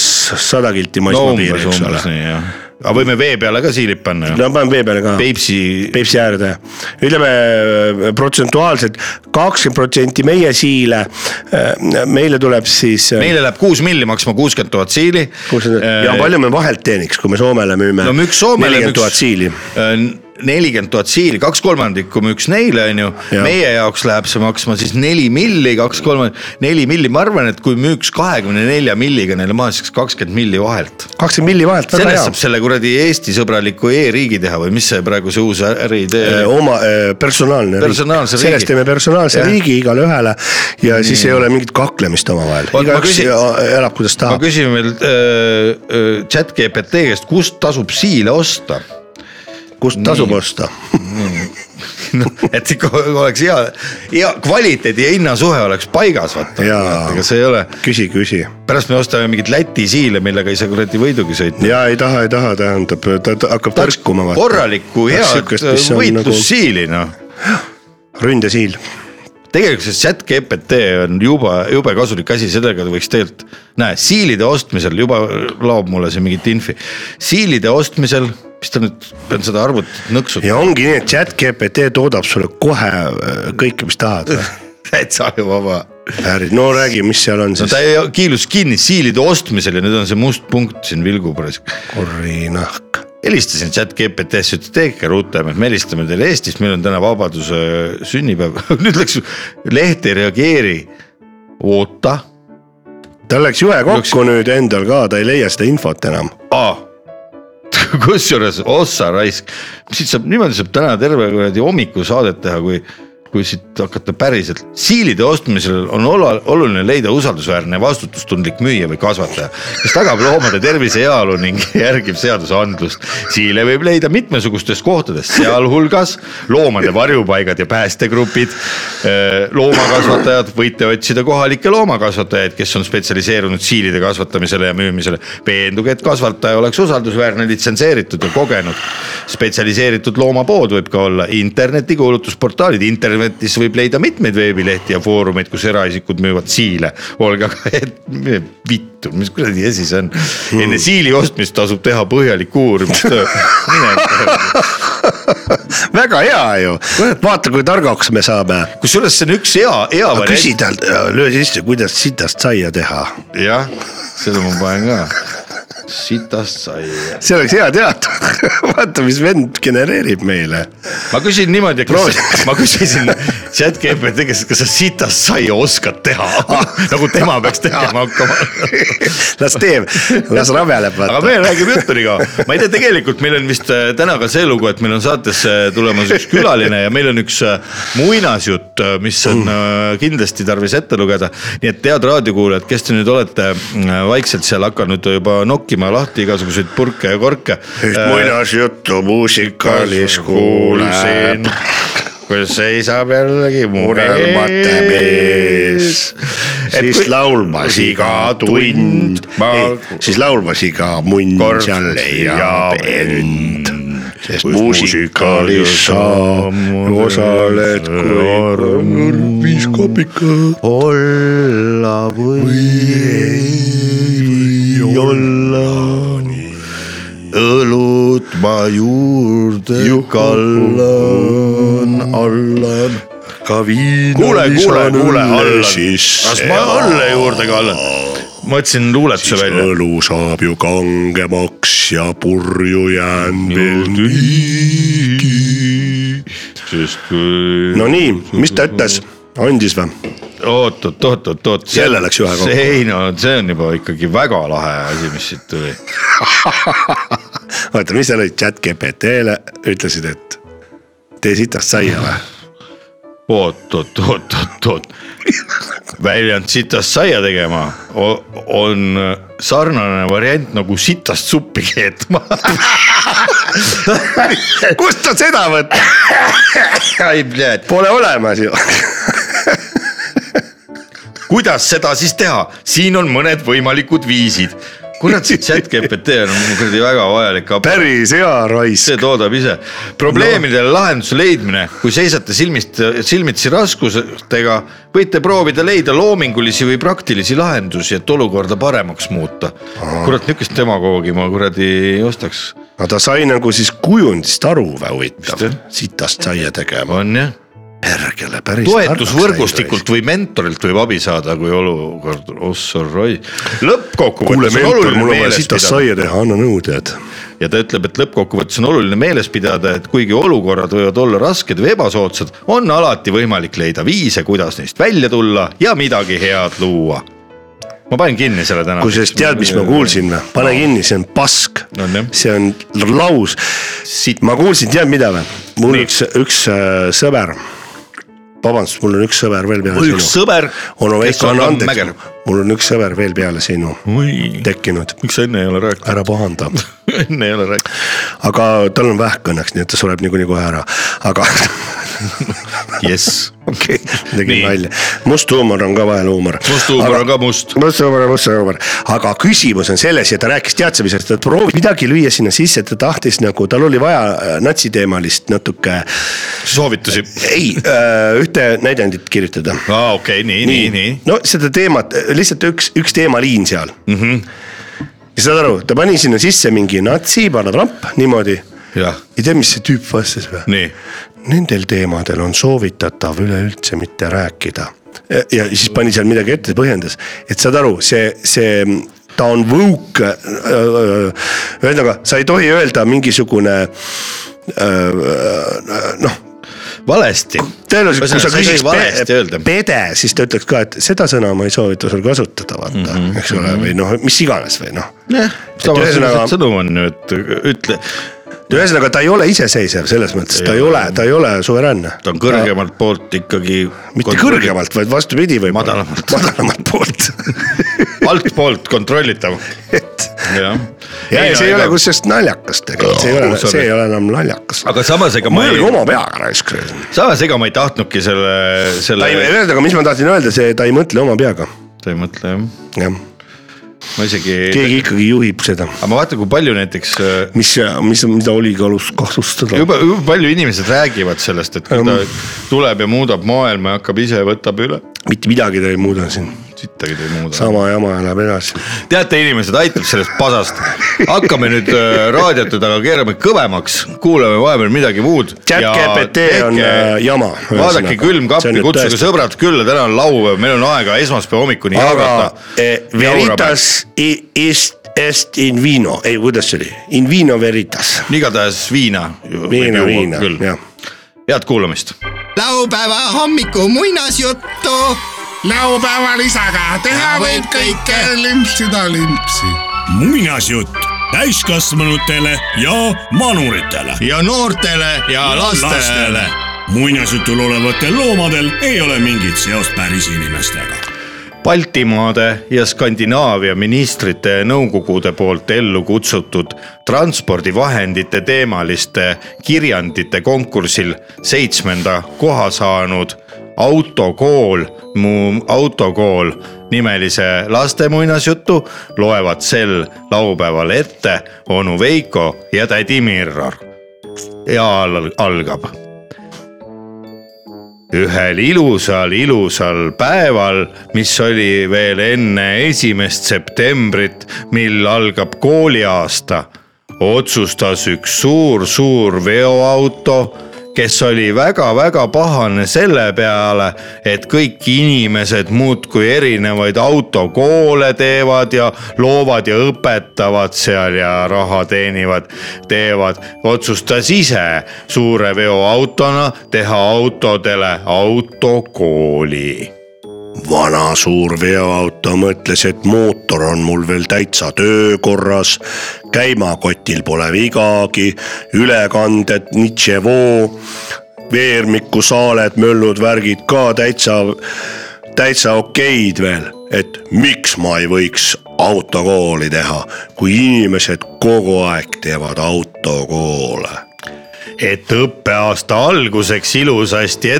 sada kilti
no
maismaapiiri ,
umbes ,
eks ole
umbes . nii jah . aga võime vee peale ka siilid panna ju .
no paneme vee peale ka .
Peipsi ,
Peipsi äärde , ütleme äh, protsentuaalselt kakskümmend protsenti meie siile , meile tuleb siis . äh,
meile läheb kuus milli maksma kuuskümmend tuhat siili . Äh,
ja palju me vahelt teeniks , kui me Soomele müüme ?
no müüks Soomele .
nelikümmend tuhat siili .
Äh, nelikümmend tuhat siili , kaks kolmandikku müüks neile , on ju .
Jah.
meie jaoks läheb see maksma siis neli milli , kaks kolmand- , neli milli , ma arvan , et kui müüks kahekümne nelja milliga neile maha , siis kakskümmend milli vahelt .
kakskümmend milli vahelt , väga
sellest
hea
saab . selle kuradi Eesti sõbraliku e-riigi teha või mis see praegu see uus äriidee on ?
oma eh, personaalne
Personaalse riigi.
sellest teeme personaalse
Jah.
ja. riigi igale ühele ja Nii. siis ei ole mingit kaklemist omavahel ,
Oot, ma
igaüks
küsin-
ja- äh, elab , kuidas
ma
tahab .
küsin veel äh, chat GPT käest , kust tasub siile osta ?
kust tasub osta ?
et ikka oleks hea , hea kvaliteedi ja hinnasuhe oleks paigas , vaata .
Jaa.
ega see ei ole
küsi , küsi
pärast me ostame mingeid Läti siile , millega ei saa kuradi võidugi sõita .
ja ei taha , ei taha , tähendab , ta ta hakkab tõrkuma .
korralikku head äh, võitlussiili noh .
nagu ründesiil .
tegelikult see chat GPT on juba jube kasulik asi , sellega võiks tegelikult , näe siilide ostmisel juba laob mulle siin mingit infi . siilide ostmisel , mis ta nüüd , pean seda arvutit nõksutama ,
ja ongi nii , et chat GPT toodab sulle kohe äh, kõike , mis
[LAUGHS]
tahad .
[LAUGHS] täitsa ju vaba .
no räägi , mis seal on
no
siis
ta . ei- kiilus kinni siilide ostmisel ja nüüd on see must punkt siin vilgub raisk
kurri nahk .
helistasin chat GPT-sse , ütles tehke rutem , et me helistame teile Eestist , meil on täna vabaduse sünnipäev . [LAUGHS] nüüd läks , leht ei reageeri . oota ,
tal läks jõe kokku nüüd endal ka , ta ei leia seda infot enam .
[LAUGHS] kusjuures ossa raisk , siit saab , niimoodi saab täna terve kuradi hommikusaadet teha , kui , kui siit hakata päriselt . siilide ostmisel on ola- oluline leida usaldusväärne ja vastutustundlik müüja või kasvataja , kes tagab loomade tervise ja heaolu ning [LAUGHS] järgib seadusandlust . siile võib leida mitmesugustest kohtadest , sealhulgas loomade varjupaigad ja päästegrupid . loomakasvatajad , võite otsida kohalikke loomakasvatajaid , kes on spetsialiseerunud siilide kasvatamisele ja müümisele . veenduge , et kasvataja oleks usaldusväärne , litsenseeritud ja kogenud . spetsialiseeritud loomapood võib ka olla internetikuulutusportaalid , internetis võib leida mitmeid veebilehti ja foorumeid , kus eraisikud müüvad siile . olge aga , [LAUGHS] et vittu , mis kuradi asi see on , enne siili ostmist tasub teha põhjalik uurimistöö . mine tea
väga hea ju , vaata kui targaks me saame .
kusjuures see on üks hea , hea variant .
küsi talt , löö sisse , kuidas sitast saia teha .
jah , seda ma panen ka . sitast sai .
see oleks hea teada . [LAUGHS] vaata , mis vend genereerib meile .
ma küsin niimoodi , kas , ma küsisin chat GPT käest , kas sa sitast sai oskad teha nagu tema peaks tegema hakkama .
las teeb , las rabeleb
aga
vaata .
me räägime juttu nii kaua , ma ei tea , tegelikult meil on vist äh, täna ka see lugu , et meil on saatesse tulemas üks külaline ja meil on üks äh, muinasjutt , mis on äh, kindlasti tarvis ette lugeda . nii et head raadiokuulajad , kes te nüüd olete äh, vaikselt seal hakanud juba nokkima lahti igasuguseid purke ja korke . äh,
üht muinasjuttu muusikalis kuulsin ,.
kus seisab jällegi
unelmate mees , siis
kui-
laulmas iga tund
Ma- ,
siis laulmas iga munn seal leiab end . sest muusikalis sa osaled kui viis kopika .
olla või ei olla . õlut ma juurde kallan alla .
ka viina
kuule , kuule , kuule , allan . kas
sisse
ma . alla juurde kallan ? ma võtsin luuletuse välja .
õlu saab ju kangemaks ja purju jään veel niigi .
sest kui
no nii , mis ta ütles , andis või ?
oot , oot , oot , oot , oot .
Jälle läks ühe kokku.
kokku . ei no see on juba ikkagi väga lahe asi , mis siit tuli .
oota , mis seal oli , chat GPT-le ütlesid , et tee sitast saia või ?
oot , oot , oot , oot , oot . väljend sitast saia tegema o- on äh, sarnane variant nagu sitast suppi keetma .
kust ta seda võtab ,
[LAUGHS] ai , näed ,
pole olemas ju .
kuidas seda siis teha , siin on mõned võimalikud viisid . kurat , see chat GPT on kuradi väga vajalik aparaat .
päris hea raisk .
see toodab ise . probleemidele lahenduse leidmine , kui seisate silmist , silmitsi raskustega , võite proovida leida loomingulisi või praktilisi lahendusi , et olukorda paremaks muuta . kurat , niisugust demagoogi ma kuradi ei ostaks .
aga ta sai nagu siis kujundist aru , väga huvitav
Just, jah. ,
sitast saia tegema .
on jah ,
pergele päris .
toetusvõrgustikult või mentorilt võib abi saada , kui olukord , oh sorry .
kuule
lõppkokkuvõttes on
mentor ,
oluline
mul on vaja
meeles
sitast
pidada
saia teha , anna nõu tead .
ja ta ütleb , et lõppkokkuvõttes on oluline meeles pidada , et kuigi olukorrad võivad olla rasked või ebasoodsad , on alati võimalik leida viise , kuidas neist välja tulla ja midagi head luua . ma panen kinni selle täna .
kusjuures tead , mis ma kuulsin või ? pane kinni , see on pask
On jah. .
see on laus . ma kuulsin , tead mida või ? mul
Nii.
üks , üks äh, sõber , vabandust , mul on üks sõber veel peale
üks
sinu .
sõber ,
onu
kes
Veiko ,
on
anna
Tammäger
andeks ., mul on üks sõber veel peale sinu
miks
tekkinud ,
sa enne ei ole
[LAUGHS]
rääkinud ?
ära pahanda
enne ei ole rääkinud ,
aga tal on vähk õnneks , nii et ta sureb niikuinii kohe ära , aga [LAUGHS]
jess .
okei ,
Nii.
tegin nalja . must huumor on ka vahel huumor .
must huumor on ka must .
must huumor on must huumor , aga küsimus on selles ja ta rääkis teadsemisest , et proovis midagi lüüa sinna sisse , ta tahtis nagu , tal oli vaja äh, natsiteemalist natuke ,
soovitusi .
ei , ühte näidendit kirjutada .
aa , okei , nii , nii , nii .
no seda teemat , lihtsalt üks , üks teemaliin seal mm .
Mhm.
-hmm. ja saad aru , ta pani sinna sisse mingi natsi , paratramp , niimoodi .
jah ,
ja tead , mis see tüüp vastas või ?
nii .
Nendel teemadel on soovitatav üleüldse mitte rääkida . ja siis pani seal midagi ette , põhjendas , et saad aru , see , see , ta on võuk . äh, ühesõnaga , sa ei tohi öelda mingisugune öö, noh
valesti .
tõenäoliselt , kui sa küsiks
valesti
pe
öelda .
pede , siis ta ütleks ka , et seda sõna ma ei soovita sul kasutada , vaata mm ,
Mhm,
-hmm. eks ole , või noh , mis iganes või noh .
jah ,
ühesõnaga-
samasugused sõnum on ju , et ütle
ühesõnaga , ta ei ole iseseisev selles mõttes , ta ei ole , ta ei ole suveräänne .
ta on kõrgemalt poolt ikkagi .
mitte . kõrgemalt , vaid vastupidi võib-olla . [LAUGHS]
Madalamalt.
madalamalt poolt
[LAUGHS] altpoolt kontrollitav .
et .
jah .
ja ei, see ei ole . kusjuures naljakas tegelikult , see ei ole , see ei ole enam naljakas .
aga samas , ega ma
mõelge
ei ,
oma peaga raisk .
samas ega ma ei tahtnudki selle ,
ta
selle
ei ,, ühesõnaga , mis ma tahtsin öelda , see , ta ei mõtle oma peaga ,
ta ei mõtle jah ,
jah .
ma isegi ,
keegi ikkagi juhib seda ,
aga ma vaatan , kui palju näiteks äh,
mis , mis , mida oligi alus kahtlustada .
juba juba palju inimesed räägivad sellest , et kui ta
Ähm.
tuleb ja muudab maailma ja hakkab ise , võtab üle ,
mitte midagi ta ei muuda siin ,
sittagi ta ei muuda .
sama jama läheb edasi .
teate , inimesed , aitab sellest pasast , hakkame nüüd äh, raadiote taga , keerame kõvemaks , kuulame vahepeal midagi muud .
chat GPT on äh, jama .
vaadake külmkappi , kutsuge . sõbrad külla , täna on laupäev , meil on aega esmaspäeva hommikuni
aga eh, Veritas i- ist est in vino , ei kuidas see oli , in vino veritas .
igatahes viina .
viina , viina , jah .
head kuulamist .
laupäeva hommiku muinasjuttu
laupäeval isaga teha võib kõike limpsida limpsi .
muinasjutt täiskasvanutele ja manuritele .
ja noortele ja lastele .
muinasjutul olevatel loomadel ei ole mingit seost päris inimestega .
Baltimaade ja Skandinaavia ministrite ja nõukogude poolt ellu kutsutud transpordivahendite teemaliste kirjandite konkursil seitsmenda koha saanud autokool , mu autokool nimelise laste muinasjutu loevad sel laupäeval ette onu Veiko ja tädi Mirror . ja al- algab ühel ilusal , ilusal päeval , mis oli veel enne esimest septembrit , mil algab kooliaasta , otsustas üks suur-suur veoauto , kes oli väga-väga pahane selle peale , et kõik inimesed muudkui erinevaid autokoole teevad ja loovad ja õpetavad seal ja raha teenivad , teevad , otsustas ise suure veoautona teha autodele autokooli .
vana suur veoauto mõtles , et mootor on mul veel täitsa töökorras , käimakotil pole vigagi , ülekanded , veermiku saaled , möllud , värgid ka täitsa täitsa okeid veel , et miks ma ei võiks autokooli teha , kui inimesed kogu aeg teevad autokoole .
et õppeaasta alguseks ilusasti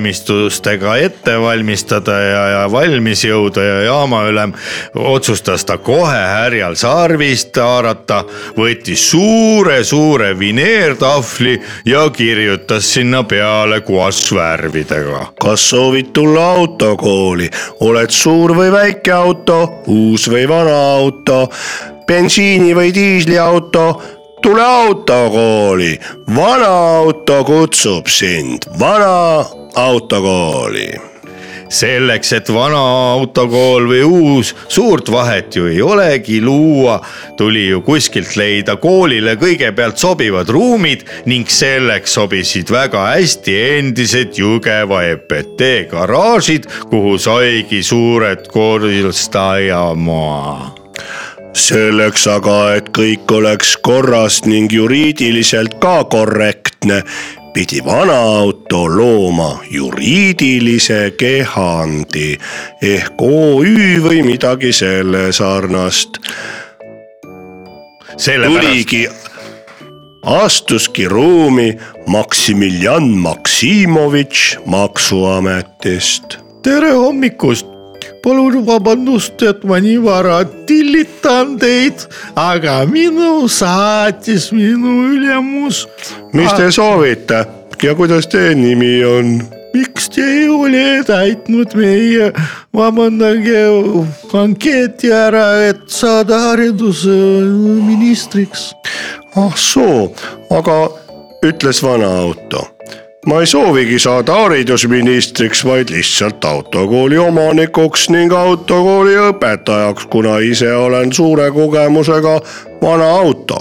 ettevalmistustega ette valmistada ja , ja valmis jõuda ja jaamaülem otsustas ta kohe härjal sarvist haarata , võttis suure-suure vineertahvli ja kirjutas sinna peale kuassvärvidega
kas soovid tulla autokooli , oled suur või väike auto , uus või vana auto , bensiini või diisliauto , tule autokooli , vana auto kutsub sind , vana autokooli
selleks , et vana autokool või uus , suurt vahet ju ei olegi luua , tuli ju kuskilt leida koolile kõigepealt sobivad ruumid ning selleks sobisid väga hästi endised Jõgeva EPT garaažid , kuhu saigi suured koristajamaa .
selleks aga , et kõik oleks korras ning juriidiliselt ka korrektne , pidi vana auto looma juriidilise kehandi ehk OÜ või midagi selle sarnast . tuligi , astuski ruumi Maksimiljan Maksimovitš Maksuametist
tere hommikust . palun vabandust , et ma nii vara tillitan teid , aga minu saatis minu ülemus .
mis te soovite ja kuidas teie nimi on ?
miks te ei ole täitnud meie , vabandage , ankeeti ära , et saada haridusministriks .
ah soo , aga ütles vana auto . ma ei soovigi saada haridusministriks , vaid lihtsalt autokooli omanikuks ning autokooli õpetajaks , kuna ise olen suure kogemusega vana auto .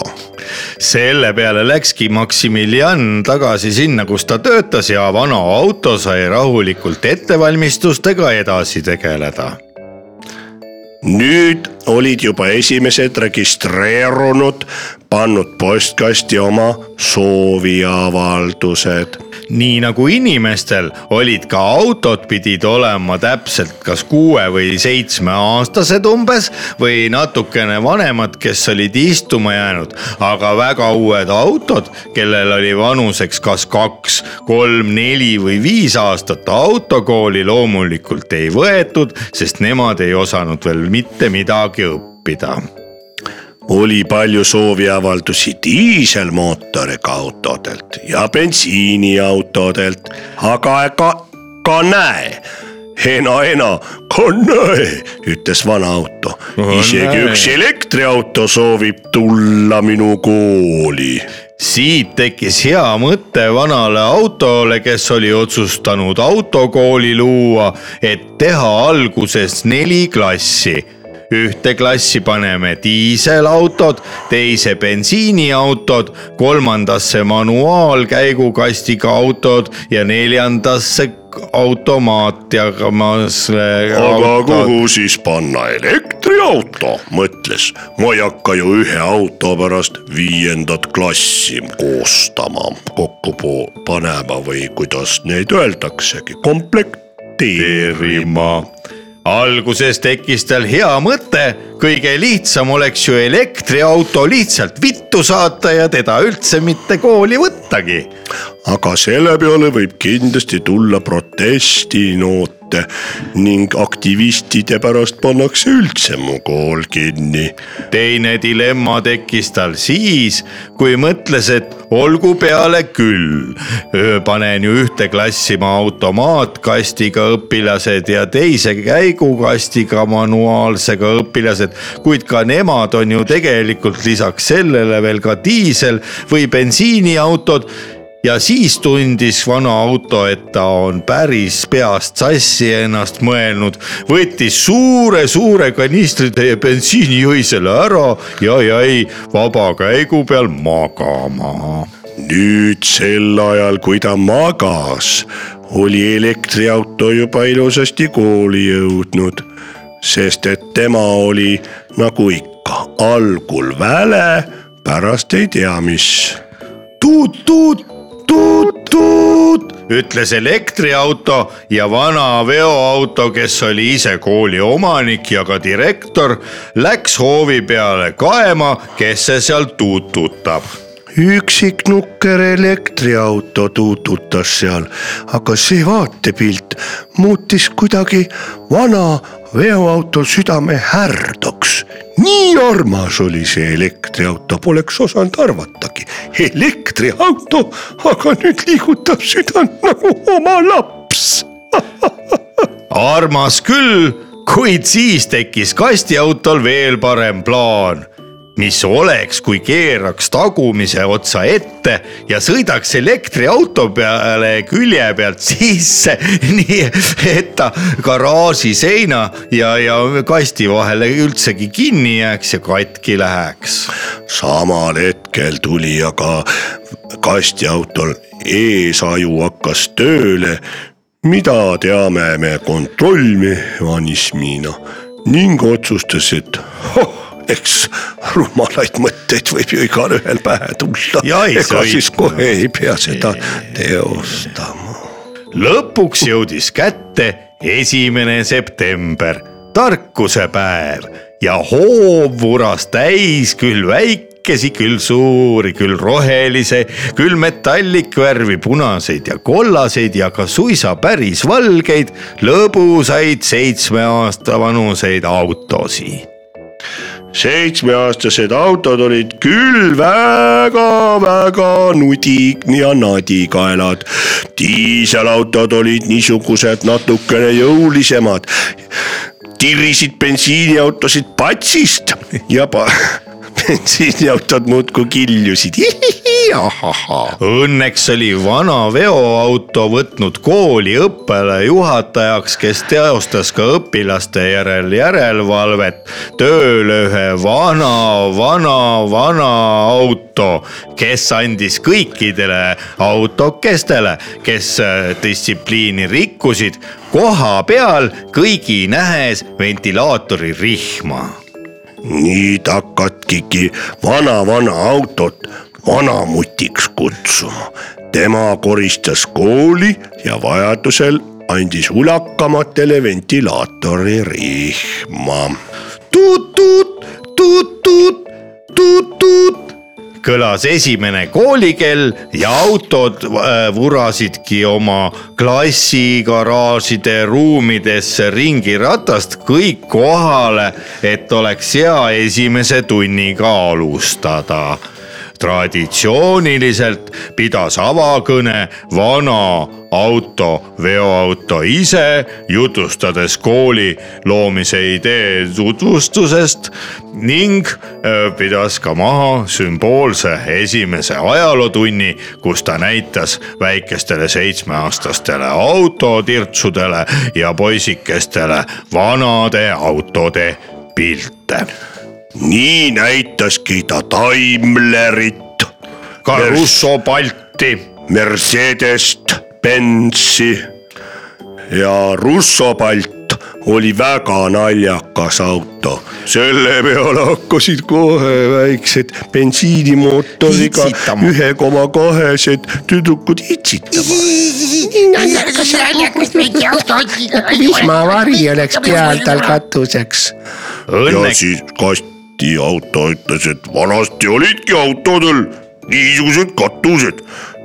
selle peale läkski Maximilian tagasi sinna , kus ta töötas ja vana auto sai rahulikult ettevalmistustega edasi tegeleda
nüüd olid juba esimesed registreerunud , pannud postkasti oma sooviavaldused
nii nagu inimestel olid ka autod pidid olema täpselt kas kuue või seitsmeaastased umbes või natukene vanemad , kes olid istuma jäänud , aga väga uued autod , kellel oli vanuseks kas kaks , kolm , neli või viis aastat autokooli loomulikult ei võetud , sest nemad ei osanud veel mitte midagi õppida
oli palju sooviavaldusi diiselmootoriga autodelt ja bensiiniautodelt , aga ega ka näe . Hena , hena , ka näe , ütles vana auto . isegi
näe.
üks elektriauto soovib tulla minu kooli .
siit tekkis hea mõte vanale autole , kes oli otsustanud autokooli luua , et teha alguses neli klassi . ühte klassi paneme diiselautod , teise bensiiniautod , kolmandasse manuaalkäigukastiga autod ja neljandasse automaat ja .
aga kuhu siis panna elektriauto , mõtles . ma ei hakka ju ühe auto pärast viiendat klassi koostama , kokku po- panema või kuidas neid öeldaksegi , komplekteerima .
firma . alguses tekkis tal hea mõte , kõige lihtsam oleks ju elektriauto lihtsalt vittu saata ja teda üldse mitte kooli võttagi .
aga selle peale võib kindlasti tulla protestinoote ning aktivistide pärast pannakse üldse mu kool kinni
teine dilemma tekkis tal siis , kui mõtles , et olgu peale küll . panen ju ühte klassi ma automaatkastiga õpilased ja teise käigukastiga manuaalsega õpilased , kuid ka nemad on ju tegelikult lisaks sellele veel ka diisel või bensiiniautod ja siis tundis vana auto , et ta on päris peast sassi ennast mõelnud , võttis suure-suure kanistritäie bensiini öisele ära ja jäi vaba käigu peal magama .
nüüd sel ajal , kui ta magas , oli elektriauto juba ilusasti kooli jõudnud , sest et tema oli nagu ikka algul väle , pärast ei tea mis
tuut-tuut , tuut-tuut , ütles elektriauto ja vana veoauto , kes oli ise kooli omanik ja ka direktor , läks hoovi peale kaema , kes see seal tuututab .
üksik nukker elektriauto tuututas seal , aga see vaatepilt muutis kuidagi vana veoauto südame härdoks . nii armas oli see elektriauto , poleks osanud arvatagi . elektriauto , aga nüüd liigutab südant nagu oma laps .
armas küll , kuid siis tekkis kastiautol veel parem plaan . mis oleks , kui keeraks tagumise otsa ette ja sõidaks elektriauto peale külje pealt sisse , [LAUGHS] nii et ta garaaži seina ja , ja kasti vahele üldsegi kinni jääks ja katki läheks
samal hetkel tuli aga kastiautol eesaju hakkas tööle , mida teame me kontrollmehhanismina ning otsustas , et hoh, eks rumalaid mõtteid võib ju igalühel pähe tulla .
Ja ei
ega siis
sõitnud.
kohe ei pea seda teostama .
lõpuks jõudis kätte esimene september , tarkuse päev ja hoov vuras täis küll väikesi , küll suuri , küll rohelise , küll metallikvärvi punaseid ja kollaseid ja ka suisa päris valgeid lõbusaid seitsme aasta vanuseid autosid .
seitsmeaastased autod olid küll väga-väga nudi ja nadikaelad . diiselautod olid niisugused natukene jõulisemad . tirisid bensiiniautosid patsist ja pa- [LAUGHS] bensiiniautod muudkui kiljusid . ahahah .
Õnneks oli vana veoauto võtnud kooli õppealajuhatajaks , kes teostas ka õpilaste järel järelevalvet tööle ühe vana , vana , vana auto , kes andis kõikidele autokestele , kes äh, distsipliini rikkusid , koha peal kõigi nähes ventilaatori rihma
nüüd hakatki vana-vana autot vanamutiks kutsuma . tema koristas kooli ja vajadusel andis ulakamatele ventilaatori rihma .
tuut-tuut , tuut-tuut , tuut-tuut . kõlas esimene koolikell ja autod äh, vurasidki oma klassi garaažide ruumidesse ringi ratast kõik kohale , et oleks hea esimese tunniga alustada traditsiooniliselt pidas avakõne vana auto , veoauto ise , jutustades kooli loomise idee tutvustusest ning öö, pidas ka maha sümboolse esimese ajalootunni , kus ta näitas väikestele seitsmeaastastele autotirtsudele ja poisikestele vanade autode pilte .
nii näitaski ta Daimlerit ,
Caruso Balti
Mercedest , Benzi ja Russopalt oli väga naljakas auto , selle peale hakkasid kohe väiksed bensiinimootoriga
Itsitama.
ühe koma kahesed tüdrukud itsitama .
vihmavari oleks peal tal katuseks .
ja
õnneks
siis kastiauto ütles , et vanasti olidki autodel niisugused katused ,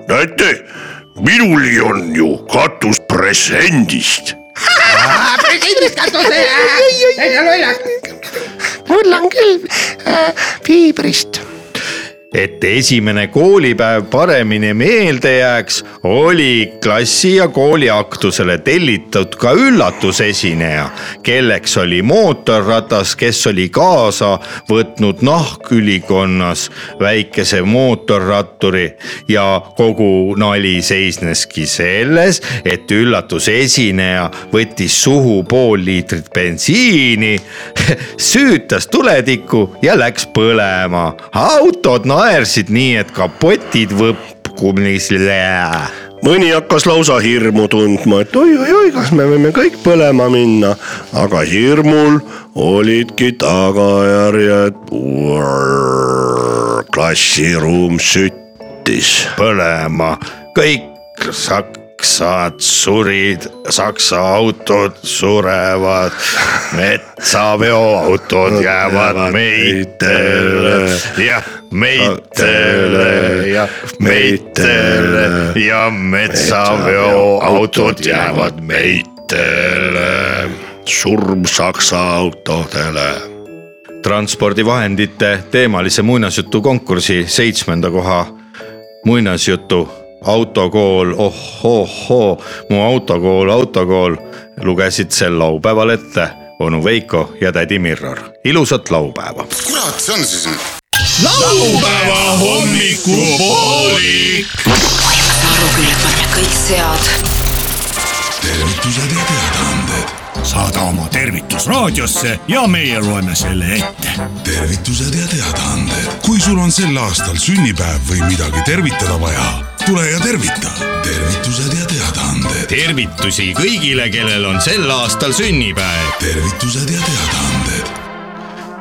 näete , minulgi on ju katus presendist
mul on küll äh, piibrist .
et esimene koolipäev paremini meelde jääks , oli klassi ja kooli aktusele tellitud ka üllatusesineja , kelleks oli mootorratas , kes oli kaasa võtnud nahkülikonnas väikese mootorratturi ja kogu nali seisneski selles , et üllatusesineja võttis suhu pool liitrit bensiini , [LAUGHS] süütas tuletikku ja läks põlema . autod naersid nii , et kapotid võpkumisele .
mõni hakkas lausa hirmu tundma , et oi-oi-oi , kas me võime kõik põlema minna , aga hirmul olidki tagajärjed . klassiruum süttis
põlema , kõik sak- saksad surid , saksa autod surevad , metsaveoautod jäävad meitele , jah , meitele , jah , meitele ja metsaveoautod jäävad meitele , surm saksa autodele transpordivahendite teemalise muinasjutu konkursi seitsmenda koha muinasjutu autokool oh-oh-oo , mu autokool , autokool lugesid sel laupäeval ette onu Veiko ja tädi Mirror . ilusat laupäeva .
kurat , see on siis nüüd .
laupäeva hommikupoolik .
taru külge panna kõik sead .
tervitused ja teadaanded . saada oma tervitus raadiosse ja meie loeme selle ette .
tervitused ja teadaanded . kui sul on sel aastal sünnipäev või midagi tervitada vaja , tule ja tervita . tervitused ja teadaanded .
tervitusi kõigile , kellel on sel aastal sünnipäev .
tervitused ja teadaanded .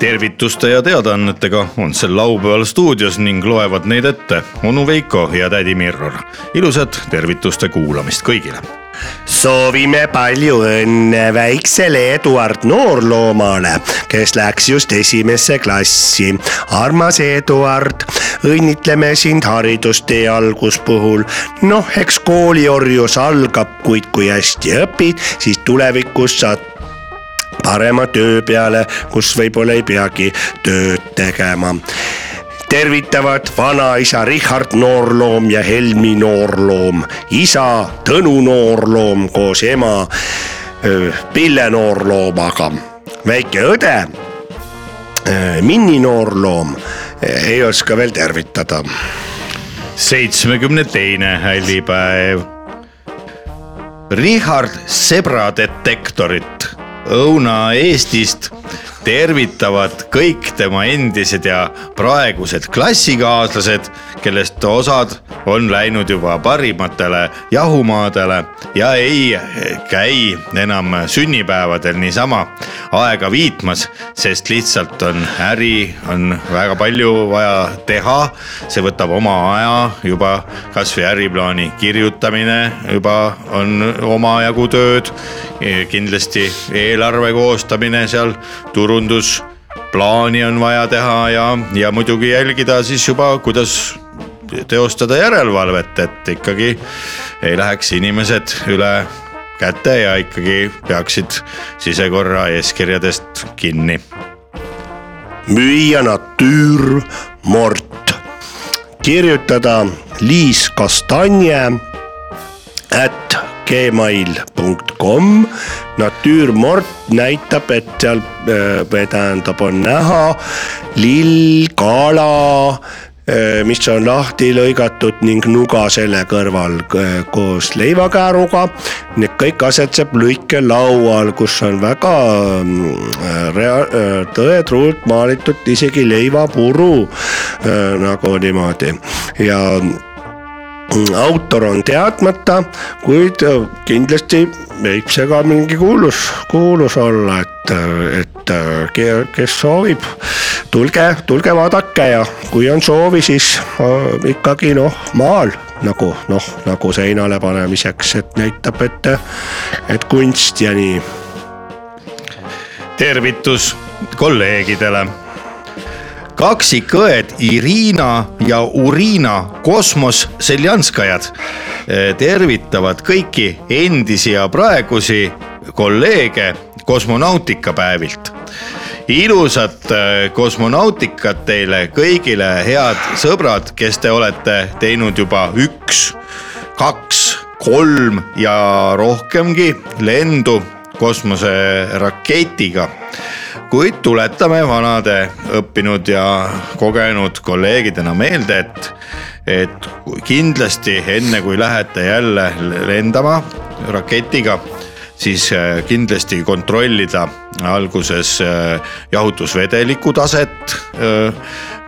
tervituste ja teadaannetega on sel laupäeval stuudios ning loevad neid ette onu Veiko ja tädi Mirror . ilusat tervituste kuulamist kõigile
soovime palju õnne väiksele Eduard Noorloomale , kes läks just esimesse klassi . armas Eduard , õnnitleme sind haridustee alguspuhul . noh , eks kooliorjus algab , kuid kui hästi õpid , siis tulevikus saad parema töö peale , kus võib-olla ei peagi tööd tegema tervitavad vanaisa Richard Noorloom ja Helmi Noorloom , isa Tõnu Noorloom koos ema öö, Pille Noorloomaga . väike õde öö, Minni Noorloom e, ei oska veel tervitada
seitsmekümne teine hällipäev . Richard sebradetektorit Õuna-Eestist tervitavad kõik tema endised ja praegused klassikaaslased , kellest osad on läinud juba parimatele jahumaadele ja ei käi enam sünnipäevadel niisama aega viitmas , sest lihtsalt on äri , on väga palju vaja teha . see võtab oma aja juba , kasvõi äriplaani kirjutamine juba on omajagu tööd . kindlasti eelarve koostamine seal , turundus plaani on vaja teha ja , ja muidugi jälgida siis juba , kuidas teostada järelevalvet , et ikkagi ei läheks inimesed üle käte ja ikkagi peaksid sisekorra eeskirjadest kinni .
müüa Natüür Mort , kirjutada Liis Kastanje at gmail.com . natüürmort näitab , et seal äh, või tähendab , on näha lill , kala , mis on lahti lõigatud ning nuga selle kõrval äh, koos leivakääruga . Need kõik asetseb lõikelaual , kus on väga äh, rea- äh, tõetruult maalitud isegi leivapuru äh, nagu niimoodi ja autor on teadmata , kuid äh, kindlasti võib see ka mingi kuulus , kuulus olla , et , et äh, ke- kes soovib , tulge , tulge vaadake ja kui on soovi , siis äh, ikkagi noh , maal nagu noh , nagu seinale panemiseks , et näitab , et , et kunst ja nii .
tervitus kolleegidele kaksikõed Irina ja Urina Kosmos Seljanskajad eh, tervitavad kõiki endisi ja praegusi kolleege kosmonautikapäevilt . ilusat eh, kosmonautikat teile kõigile , head sõbrad , kes te olete teinud juba üks , kaks , kolm ja rohkemgi lendu kosmoseraketiga kuid tuletame vanade õppinud ja kogenud kolleegidena meelde , et , et kindlasti enne kui lähete jälle lendama raketiga , siis äh, kindlasti kontrollida alguses äh, jahutusvedeliku taset ,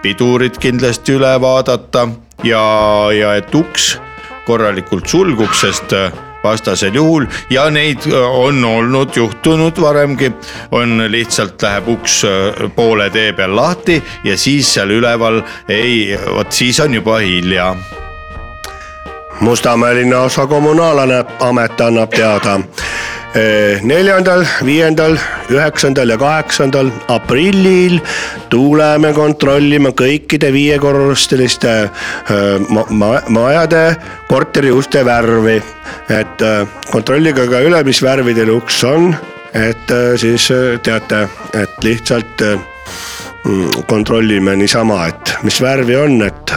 pidurid kindlasti üle vaadata ja , ja et uks korralikult sulguks , sest äh, vastasel juhul ja neid äh, on olnud juhtunud varemgi , on lihtsalt läheb uks äh, poole tee peal lahti ja siis seal üleval ei , vot siis on juba hilja .
Mustamäe linnaosa kommunaalane amet annab teada . neljandal , viiendal , üheksandal ja kaheksandal aprillil tuleme kontrollima kõikide viiekorrusteliste eh, ma- ma- majade korteriuste värvi . et eh, kontrollige ka üle , mis värvi teil uks on , et eh, siis eh, teate , et lihtsalt eh, mm, kontrollime niisama , et mis värvi on , et ,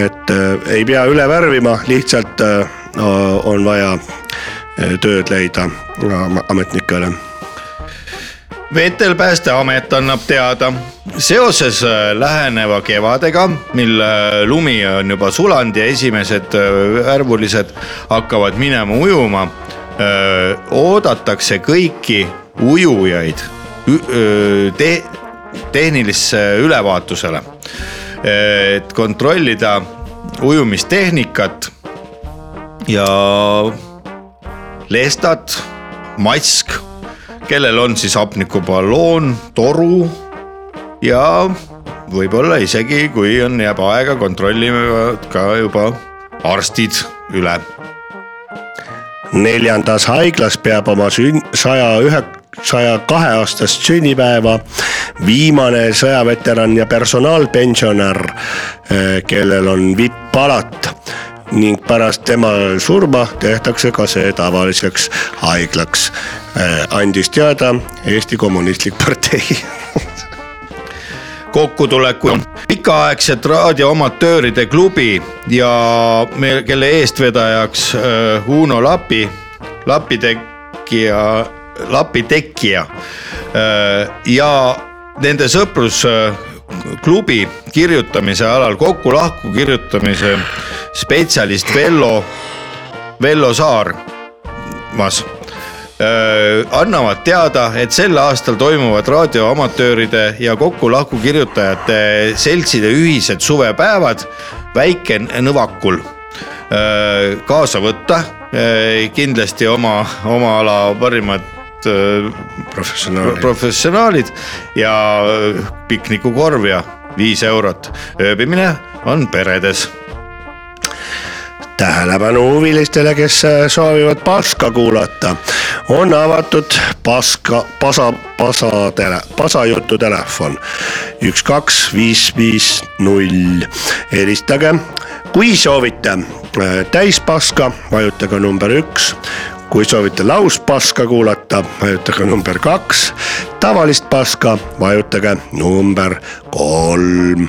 et äh, ei pea üle värvima , lihtsalt äh, o- on vaja äh, tööd leida am- ametnikele .
vetelpäästeamet annab teada , seoses äh, läheneva kevadega , mil äh, lumi on juba sulanud ja esimesed äh, värvulised hakkavad minema ujuma , oodatakse kõiki ujujaid ü- öö, te- , tehnilisse ülevaatusele , et kontrollida ujumistehnikat ja lestad , mask , kellel on siis hapnikuballoon , toru ja võib-olla isegi , kui on , jääb aega , kontrollivad ka juba arstid üle .
neljandas haiglas peab oma sünn- , saja ühe , saja kahe aastast sünnipäeva viimane sõjaveteran ja personaalpensionär , kellel on vipp-alat ning pärast tema surma tehtakse ka see tavaliseks haiglaks , andis teada Eesti Kommunistlik Partei [LAUGHS]
kokkutuleku pikaaegset raadioamatööride klubi ja me , kelle eestvedajaks äh, Uno Lapi , lapitekija , lapitekija äh, ja nende sõprusklubi kirjutamise alal kokku-lahku kirjutamise spetsialist Vello , Vello Saar mas öö, annavad teada , et sel aastal toimuvad raadioamatööride ja kokku-lahku kirjutajate seltside ühised suvepäevad Väike-Nõvakul . Äh, kaasa võtta öö, kindlasti oma , oma ala parimad öö,
professionaal .
professionaalid ja öö, piknikukorv ja viis eurot . ööbimine on peredes
tähelepanu huvilistele , kes äh, soovivad paska kuulata , on avatud paska , pasa , pasadele , pasajutu telefon üks , kaks , viis , viis , null . helistage , kui soovite äh, täispaska , vajutage number üks kui soovite lauspaska kuulata , vajutage number kaks , tavalist paska vajutage number kolm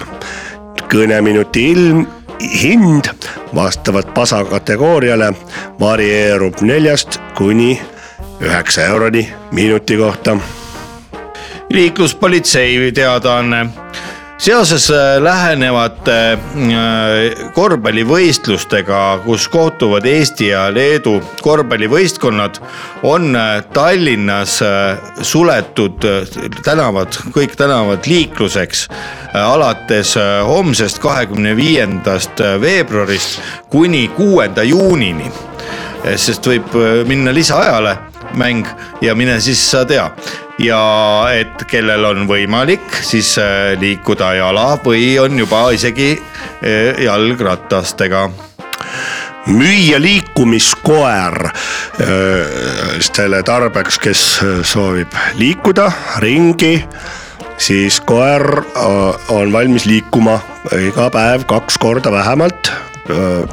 kõneminuti ilm , hind vastavalt pasa kategooriale varieerub neljast kuni üheksa euroni minuti kohta .
liikluspolitsei teadaanne . seoses äh, lähenevate äh, korvpallivõistlustega , kus kohtuvad Eesti ja Leedu korvpallivõistkonnad , on äh, Tallinnas äh, suletud äh, tänavad , kõik tänavad liikluseks äh, alates äh, homsest , kahekümne viiendast äh, veebruarist kuni kuuenda juunini Eh, sest võib minna lisaajale mäng ja mine siis sa tea . ja et kellel on võimalik , siis äh, liikuda jala või on juba isegi äh, jalgratastega .
müüa liikumiskoer öö, selle tarbeks , kes äh, soovib liikuda ringi , siis koer öö, on valmis liikuma äh, iga päev kaks korda vähemalt ,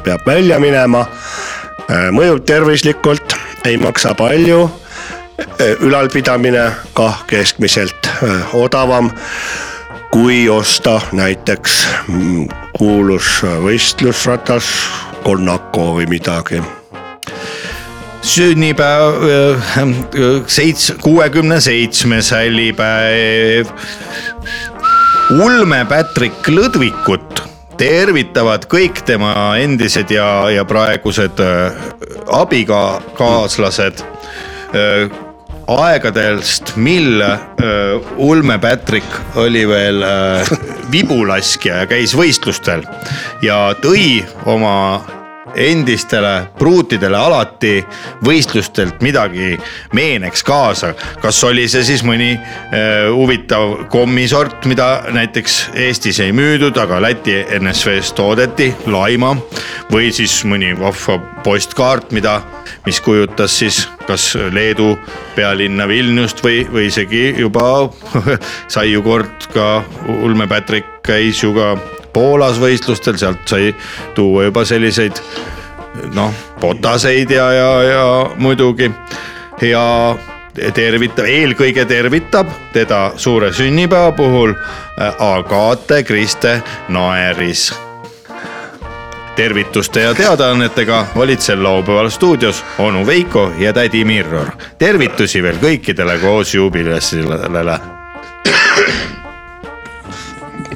peab välja minema , mõjub tervislikult , ei maksa palju äh, ülalpidamine kah keskmiselt äh, odavam kui osta näiteks mm, kuulus võistlusratas Konako või midagi .
sünnipäev , seits- , kuuekümne seitsmes hällipäev . ulme Patrick Lõdvikut tervitavad kõik tema endised ja , ja praegused äh, abikaaslased aegadest , mil äh, Ulme Patrick oli veel äh, vibulaskja ja käis võistlustel ja tõi oma endistele pruutidele alati võistlustelt midagi meeneks kaasa . kas oli see siis mõni eh, huvitav kommisort , mida näiteks Eestis ei müüdud , aga Läti NSV-s toodeti , laima või siis mõni vahva postkaart , mida , mis kujutas siis kas Leedu pealinna Vilniust või , või isegi juba [LAUGHS] sai ju kord ka ulme Patrick käis ju ka Poolas võistlustel , sealt sai tuua juba selliseid noh , botaseid ja , ja , ja muidugi ja tervitab , eelkõige tervitab teda suure sünnipäeva puhul äh, Agate Kriste Naeris . tervituste ja teadaannetega olid sel laupäeval stuudios onu Veiko ja tädi Mirror . tervitusi veel kõikidele koos juubilessilele .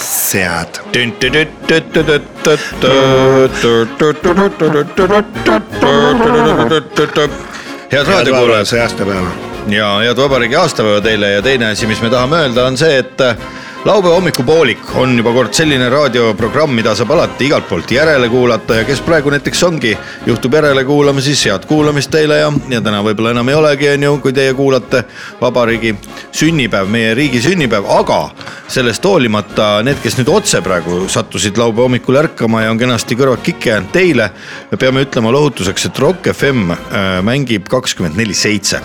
sead .
head raadiokuulajad
see aastapäev .
ja head vabariigi aastapäeva teile ja teine asi , mis me tahame öelda , on see , et äh, laupäeva hommikupoolik on juba kord selline raadioprogramm , mida saab alati igalt poolt järele kuulata ja kes praegu näiteks ongi , juhtub järele kuulama , siis head kuulamist teile ja , ja täna võib-olla enam ei olegi , on ju , kui teie kuulate vabariigi sünnipäev , meie riigi sünnipäev , aga sellest hoolimata need , kes nüüd otse praegu sattusid laupäeva hommikul ärkama ja on kenasti kõrvad kikki jäänud teile , me peame ütlema lohutuseks , et Rock FM äh, mängib kakskümmend neli seitse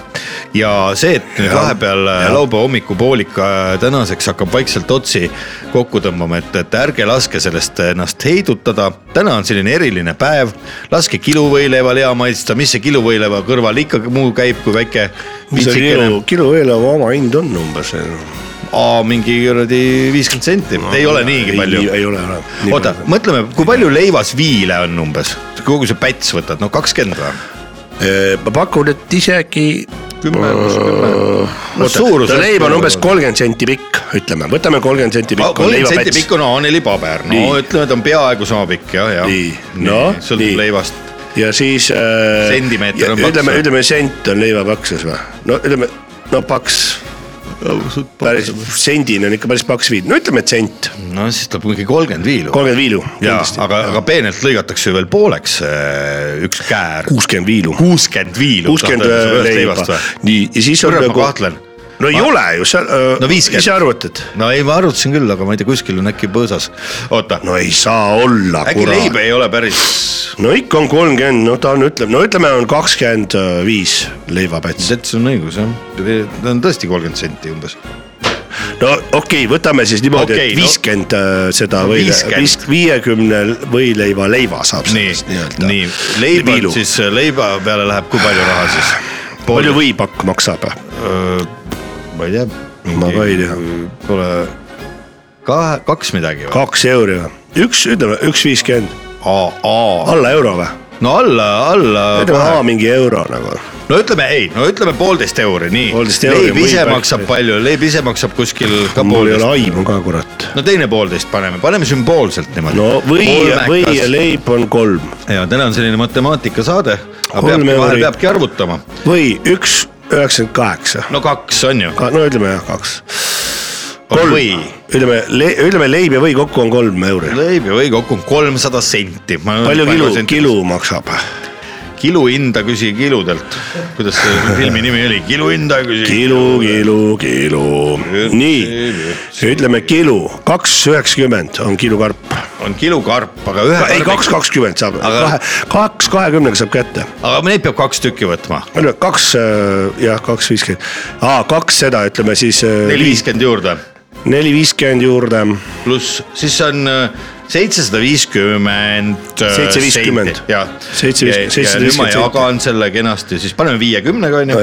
ja see , et nüüd vahepeal äh, laupäeva hommikupoolik äh, tänaseks hakkab vaikselt otsi kokku tõmbama , et , et ärge laske sellest ennast heidutada . täna on selline eriline päev , laske kiluvõileival hea maitsta , mis see kiluvõileiva kõrval ikka muu käib , kui väike
mis see
pitsikene
kilo , kilo eelarve omahind on umbes ?
Aa, mingi kuradi viiskümmend senti , ei ole niigi palju .
ei ole enam .
oota ,. mõtleme , kui palju leivas viile on umbes , kogu see päts võtad , no kakskümmend või ?
ma pakun , et isegi .
kümme , kümme .
no suurus . leib on umbes . kolmkümmend senti pikk , ütleme , võtame kolmkümmend senti pikk .
Ah, kolmkümmend senti pikk on A4 paber , no
Nii.
ütleme , ta on peaaegu sama pikk jah , jah .
Nii. Noh, nii.
sõltub leivast .
ja siis äh, .
Sentimeeter on paks,
ütleme ,
või?
ütleme sent on leiva paksus või ? no ütleme , no paks , päris sendine on ikka päris paks viil , no ütleme , et sent ,
no siis tuleb mingi kolmkümmend viilu .
kolmkümmend viilu .
jaa , aga , aga peenelt lõigatakse ju veel pooleks äh, üks käär .
kuuskümmend viilu .
kuuskümmend viilu .
kuuskümmend äh, leiva , nii ja siis on nagu-
Kurat, ma kahtlen.
no ei
Ma-
ole ju , sa äh,
No 50.
ise arvutad .
no ei , ma arvutasin küll , aga ma ei tea , kuskil on äkki põõsas . oota
no ei saa olla ,
äkki leib
kurat .
ei ole päris ,
no ikka on kolmkümmend , no ta on , ütleme , no ütleme , on kakskümmend äh, viis leivapäts .
sets on õigus jah , ta on tõesti kolmkümmend senti umbes .
no okei okay, , võtame siis niimoodi okay, ,
Okei,
et
no-
viiskümmend no, seda võile
50. ,
viiekümne võileiva leiva saab
nii
sellest , nii-öelda .
nii , leiba siis äh, leiba peale läheb , kui palju raha siis ?
palju ? võipakk maksab ?
ma ei tea .
Ma ka ei tea. .
Pole kahe , kaks midagi või ?
kaks euri või ? üks , ütleme üks viiskümmend ,
aa , aa ,
alla euro või ?
no alla ,
ütleme
alla
A . mingi euro nagu .
no ütleme ei , no ütleme poolteist euri , nii .
Poolteist euri
leib ise
võib-
maksab palju , leib ise maksab kuskil ka
mul ei
poolteist
ole . aimu ka , kurat .
no teine poolteist paneme , paneme sümboolselt niimoodi .
no või , või ja . leib on kolm
ja täna on selline matemaatikasaade , aga
Kolm
peabki , vahel
euri.
peabki arvutama .
või üks üheksakümmend kaheksa .
no kaks on ju ,
no ütleme jah , kaks .
on
kolm
või .
ütleme , ütleme leib ja või kokku on kolm euri .
leib ja või kokku on kolmsada senti .
palju kilu , kilu maksab ?
kiluhinda küsi kiludelt , kuidas see filmi nimi oli , kiluhinda küsi .
kilu , kilu , kilu . nii , ütleme kilu , kaks üheksakümmend on kilukarp .
on kilukarp , aga ühe .
ei , kaks . kakskümmend saab ,
Aga-
kahe , kaks kahekümnega saab kätte .
aga neid peab kaks tükki võtma ,
kaks äh, jah , kaks viiskümmend , kaks seda ütleme siis äh,
neli viiskümmend juurde ,
neli viiskümmend juurde ,
pluss siis on äh, seitsesada viiskümmend .
750.
jah .
750,
ja nüüd ma
750.
jagan selle kenasti , siis paneme viiekümnega onju ,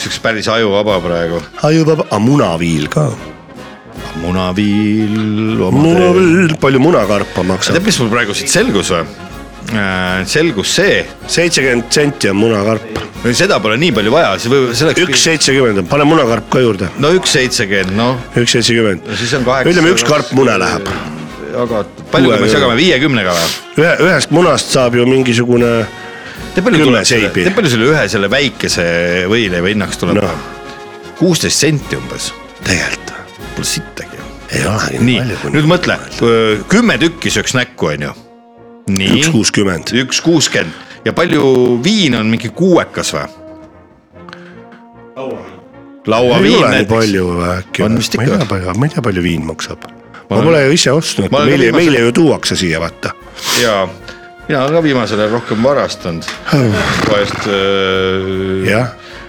siukse päris ajuvaba praegu .
ajuvaba , aga munaviil ka
munaviil .
munaviil , palju munakarpa
tead ,
maksab ?
mis mul praegu siit selgus või ? äh, selgus see ,
seitsekümmend senti on munakarp ,
seda pole nii palju vaja , see võib , see oleks
üks . seitsekümmend on , pane munakarp ka juurde ,
no üks seitsekümmend , noh ,
üks seitsekümmend
No siis on kaheksa- .
ütleme üks karp mune läheb ,
aga palju me siis jagame , viiekümnega või ?
ühe , ühest munast saab ju mingisugune
tead palju
Kümme
tuleb selle ,
seibi.
tead palju selle ühe selle väikese võileiva hinnaks tuleb
Noh.
no. ? kuusteist senti umbes ,
tegelikult
pole sittagi .
ei olegi nii
nii
palju ,,
nüüd mõtle , kümme tükki sööks näkku , onju . nii
üks , kuuskümmend ,
üks kuuskümmend ja palju viin on mingi kuuekas või ?
ei
lauaviin
ole nii
näiteks .
palju äkki ,
On
ma
vist
ei
ikka.
tea palju , ma ei tea palju viin maksab ma
olen-
pole ju ise ostnud ,
ma olen
meile ,
viimase-
meile ju tuuakse siia , vaata .
jaa , mina olen ka viimasel ajal rohkem varastanud . vahest äh,
Jah.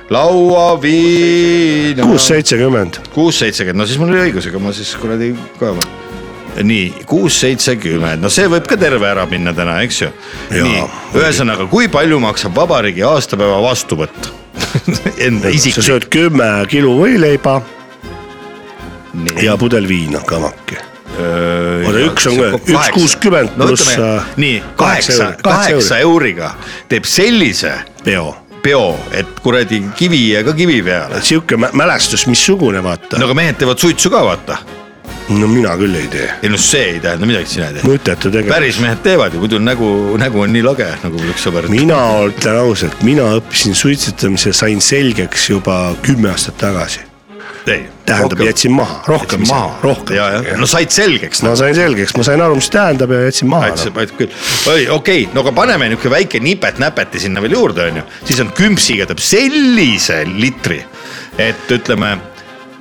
lauaviin .
kuus , seitsekümmend ,
kuus , seitsekümmend , no siis mul oli õigus , ega ma siis kuradi ka . nii kuus , seitsekümmend , no see võib ka terve ära minna täna , eks ju .
Jaa,
nii , ühesõnaga , kui palju maksab vabariigi aastapäeva vastuvõtt ? [LAUGHS] Enda
sa
isiklik .
sööd kümme kilu võileiba ja pudel viina kamaki . oota , üks on , üks kuuskümmend
no,
pluss
ütleme,
äh,
nii kaheksa , kaheksa euriga teeb sellise
peo .
peo , et kuradi kivi ja ka kivi peale .
sihuke mä- mälestus , missugune vaata
no
no. ,
aga mehed teevad suitsu ka vaata .
no mina küll ei tee ,
ei no see ei tähenda midagi , sina ei tee .
mõttetu tegelikult .
päris mehed teevad ju , muidu nägu , nägu on nii lage , nagu mul üks sõber
mina ütlen ausalt , mina õppisin suitsetamise , sain selgeks juba kümme aastat tagasi .
Ei,
tähendab ,
rohkem.
jätsin maha , rohkem
Jätsid
maha , rohkem .
ja , ja no said selgeks noh. no,
ma . sain selgeks , ma sain aru , mis tähendab ja jätsin maha .
aitab , aitab küll , oi okei okay. , no aga paneme niuke väike nipet-näpeti sinna veel juurde , onju , siis on kümpsiga teeb sellise litri , et ütleme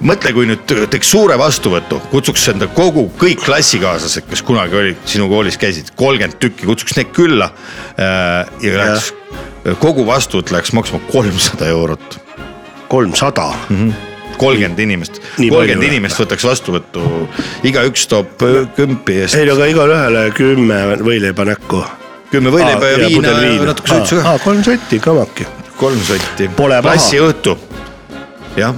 mõtle , kui nüüd teeks suure vastuvõtu , kutsuks enda kogu kõik klassikaaslased , kes kunagi olid sinu koolis käisid , kolmkümmend tükki , kutsuks need külla . ja läheks , kogu vastuvõtt läheks maksma kolmsada eurot ,
Noh, kolmsada ,
Mhm. kolmkümmend inimest ,
Nii palju
kolmkümmend
või?
inimest võtaks vastuvõttu , igaüks toob öö, kümpi eest
ei no aga igaleühele kümme võileiba näkku .
kümme võileiba ja viina ja natuke suitsu ka .
kolm sotti , kamaki .
kolm sotti .
Pole paha.
klassiõhtu . jah ,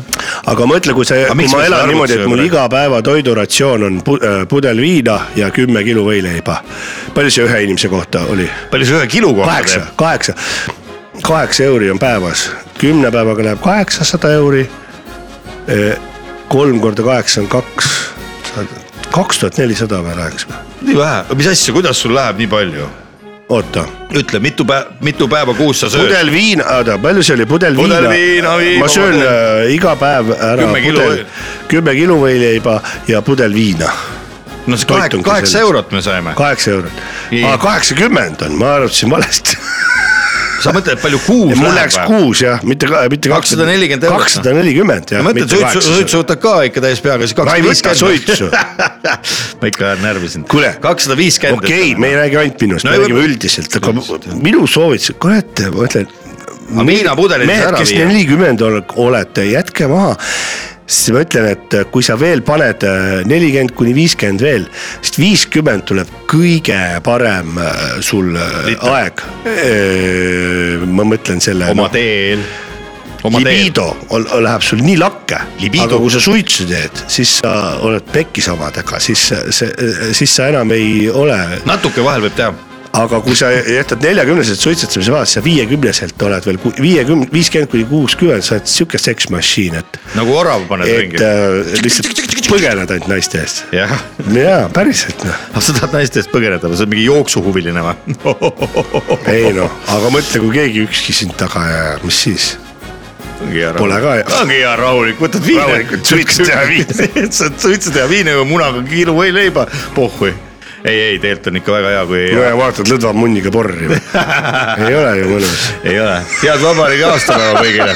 aga mõtle , kui see , kui
miks
ma
me seda
elan
arvuti
niimoodi , et
sööme
mul
praegu?
iga päeva toiduratsioon on pu- äh, pudel viina ja kümme kilo võileiba . palju see ühe inimese kohta oli ?
palju see ühe kilo kohta
kaheksa , kaheksa , kaheksa euri on päevas , kümne päevaga läheb kaheksasada euri . kolm korda kaheksa on kaks , kaks tuhat nelisada või läheks või ?
teeb ? nii vähe , mis asja , kuidas sul läheb nii palju ?
oota ,
ütle , mitu päeva , mitu päeva kuus sa sööd ?
pudel viina , oota , palju see oli , pudel viina ?
Pudel viina, viina,
ma söön äh, iga päev ära
Kümme kilo
pudel
või- ,
kümme kilo võileiba ja pudel viina ,
no see
toit
kaheksa ,
ongi
kaheksa
selles.
eurot me saime .
kaheksa eurot
Nii. .
kaheksakümmend on , ma arvutasin valesti .
sa mõtled , palju kuus
mul
läheb
läks ? kuus jah , mitte , mitte
240 eurot, noh.
kakssada nelikümmend jah .
mõtled suitsu , suitsu võtad ka ikka täis peaga , siis
ma ei
kakssada
võta suitsu .
[LAUGHS] ma ikka ajan närvi sind .
Kuule.
kakssada viiskümmend .
okei , me ei räägi ainult minust ,
No
me
ei,
räägime
võib-
üldiselt , aga
Üldiselt, jah.
minu soovitus , kurat , ma ütlen .
Aga viinapudelid siis
mehed
ära ,
kes
viia.
nelikümmend olete , jätke maha . siis ma ütlen , et äh, kui sa veel paned äh, nelikümmend kuni viiskümmend veel , sest viiskümmend tuleb kõige parem äh, sul äh,
Liter.
aeg . ma mõtlen selle .
oma teel . oma teel .
libido on, on- läheb sul nii lakke ,
Libido.
aga kui sa suitsu teed , siis sa oled pekkis omadega , siis äh, see , siis sa enam ei ole .
natuke vahel võib teha .
aga kui sa jätad neljakümneselt suitsetamise vahest , sa viiekümneselt oled veel viiekümne , viiskümmend kuni kuuskümmend , sa oled sihuke sex machine , et ,
nagu orav paned
et
ringi .
äh, lihtsalt põgened ainult naiste eest .
jah , [LAUGHS]
jaa , päriselt noh ,
sa tahad naiste eest põgeneda või sa oled mingi jooksuhuviline või ?
ei noh , aga mõtle , kui keegi ükski sind taga ei aja , mis siis ?
ongi hea
Pole ka hea.
rahulik , ongi hea rahulik , võtad viina .
Rahulikult suitsu teha viina. .
saad suitsu teha viina ja munaga kiilu või leiba , pohhui . ei , ei tegelikult on ikka väga hea , kui ei
no
ole .
ja vaatad lõdva munniga porri või ? ei ole ju mõnus .
ei ole , head vabariigi aastapäeva kõigile .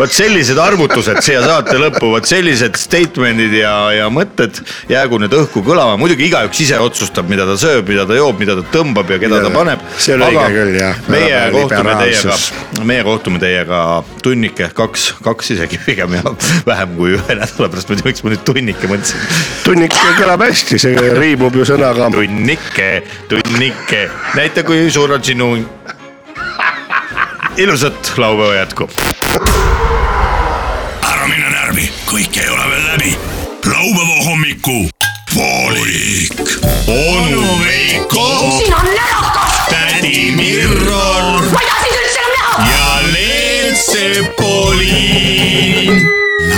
vot sellised arvutused siia saate lõppu , vot sellised statement'id ja , ja mõtted jäägu need õhku kõlama , muidugi igaüks ise otsustab , mida ta sööb , mida ta joob , mida ta tõmbab ja keda
Jaa,
ta paneb .
see on õige küll, jah.
meie
Väga
kohtume teiega
liberaalsus. ,
meie kohtume teiega tunnike , kaks , kaks isegi pigem ja vähem kui ühe nädala pärast , ma ei tea , miks ma nüüd tunnike mõtlesin .
tunnik kõlab hästi , see riimub ju sõnaga .
tunnike , tunnike , näita , kui suur on sinu . [LAUGHS] ilusat laupäeva jätku
ära mine närvi , kõik ei ole veel läbi . laupäeva hommiku poolik . onu Veiko ,
sina närakas .
tädi Epoliin .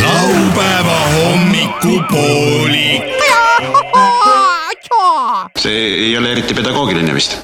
laupäeva hommikupoolik .
see ei ole eriti pedagoogiline vist .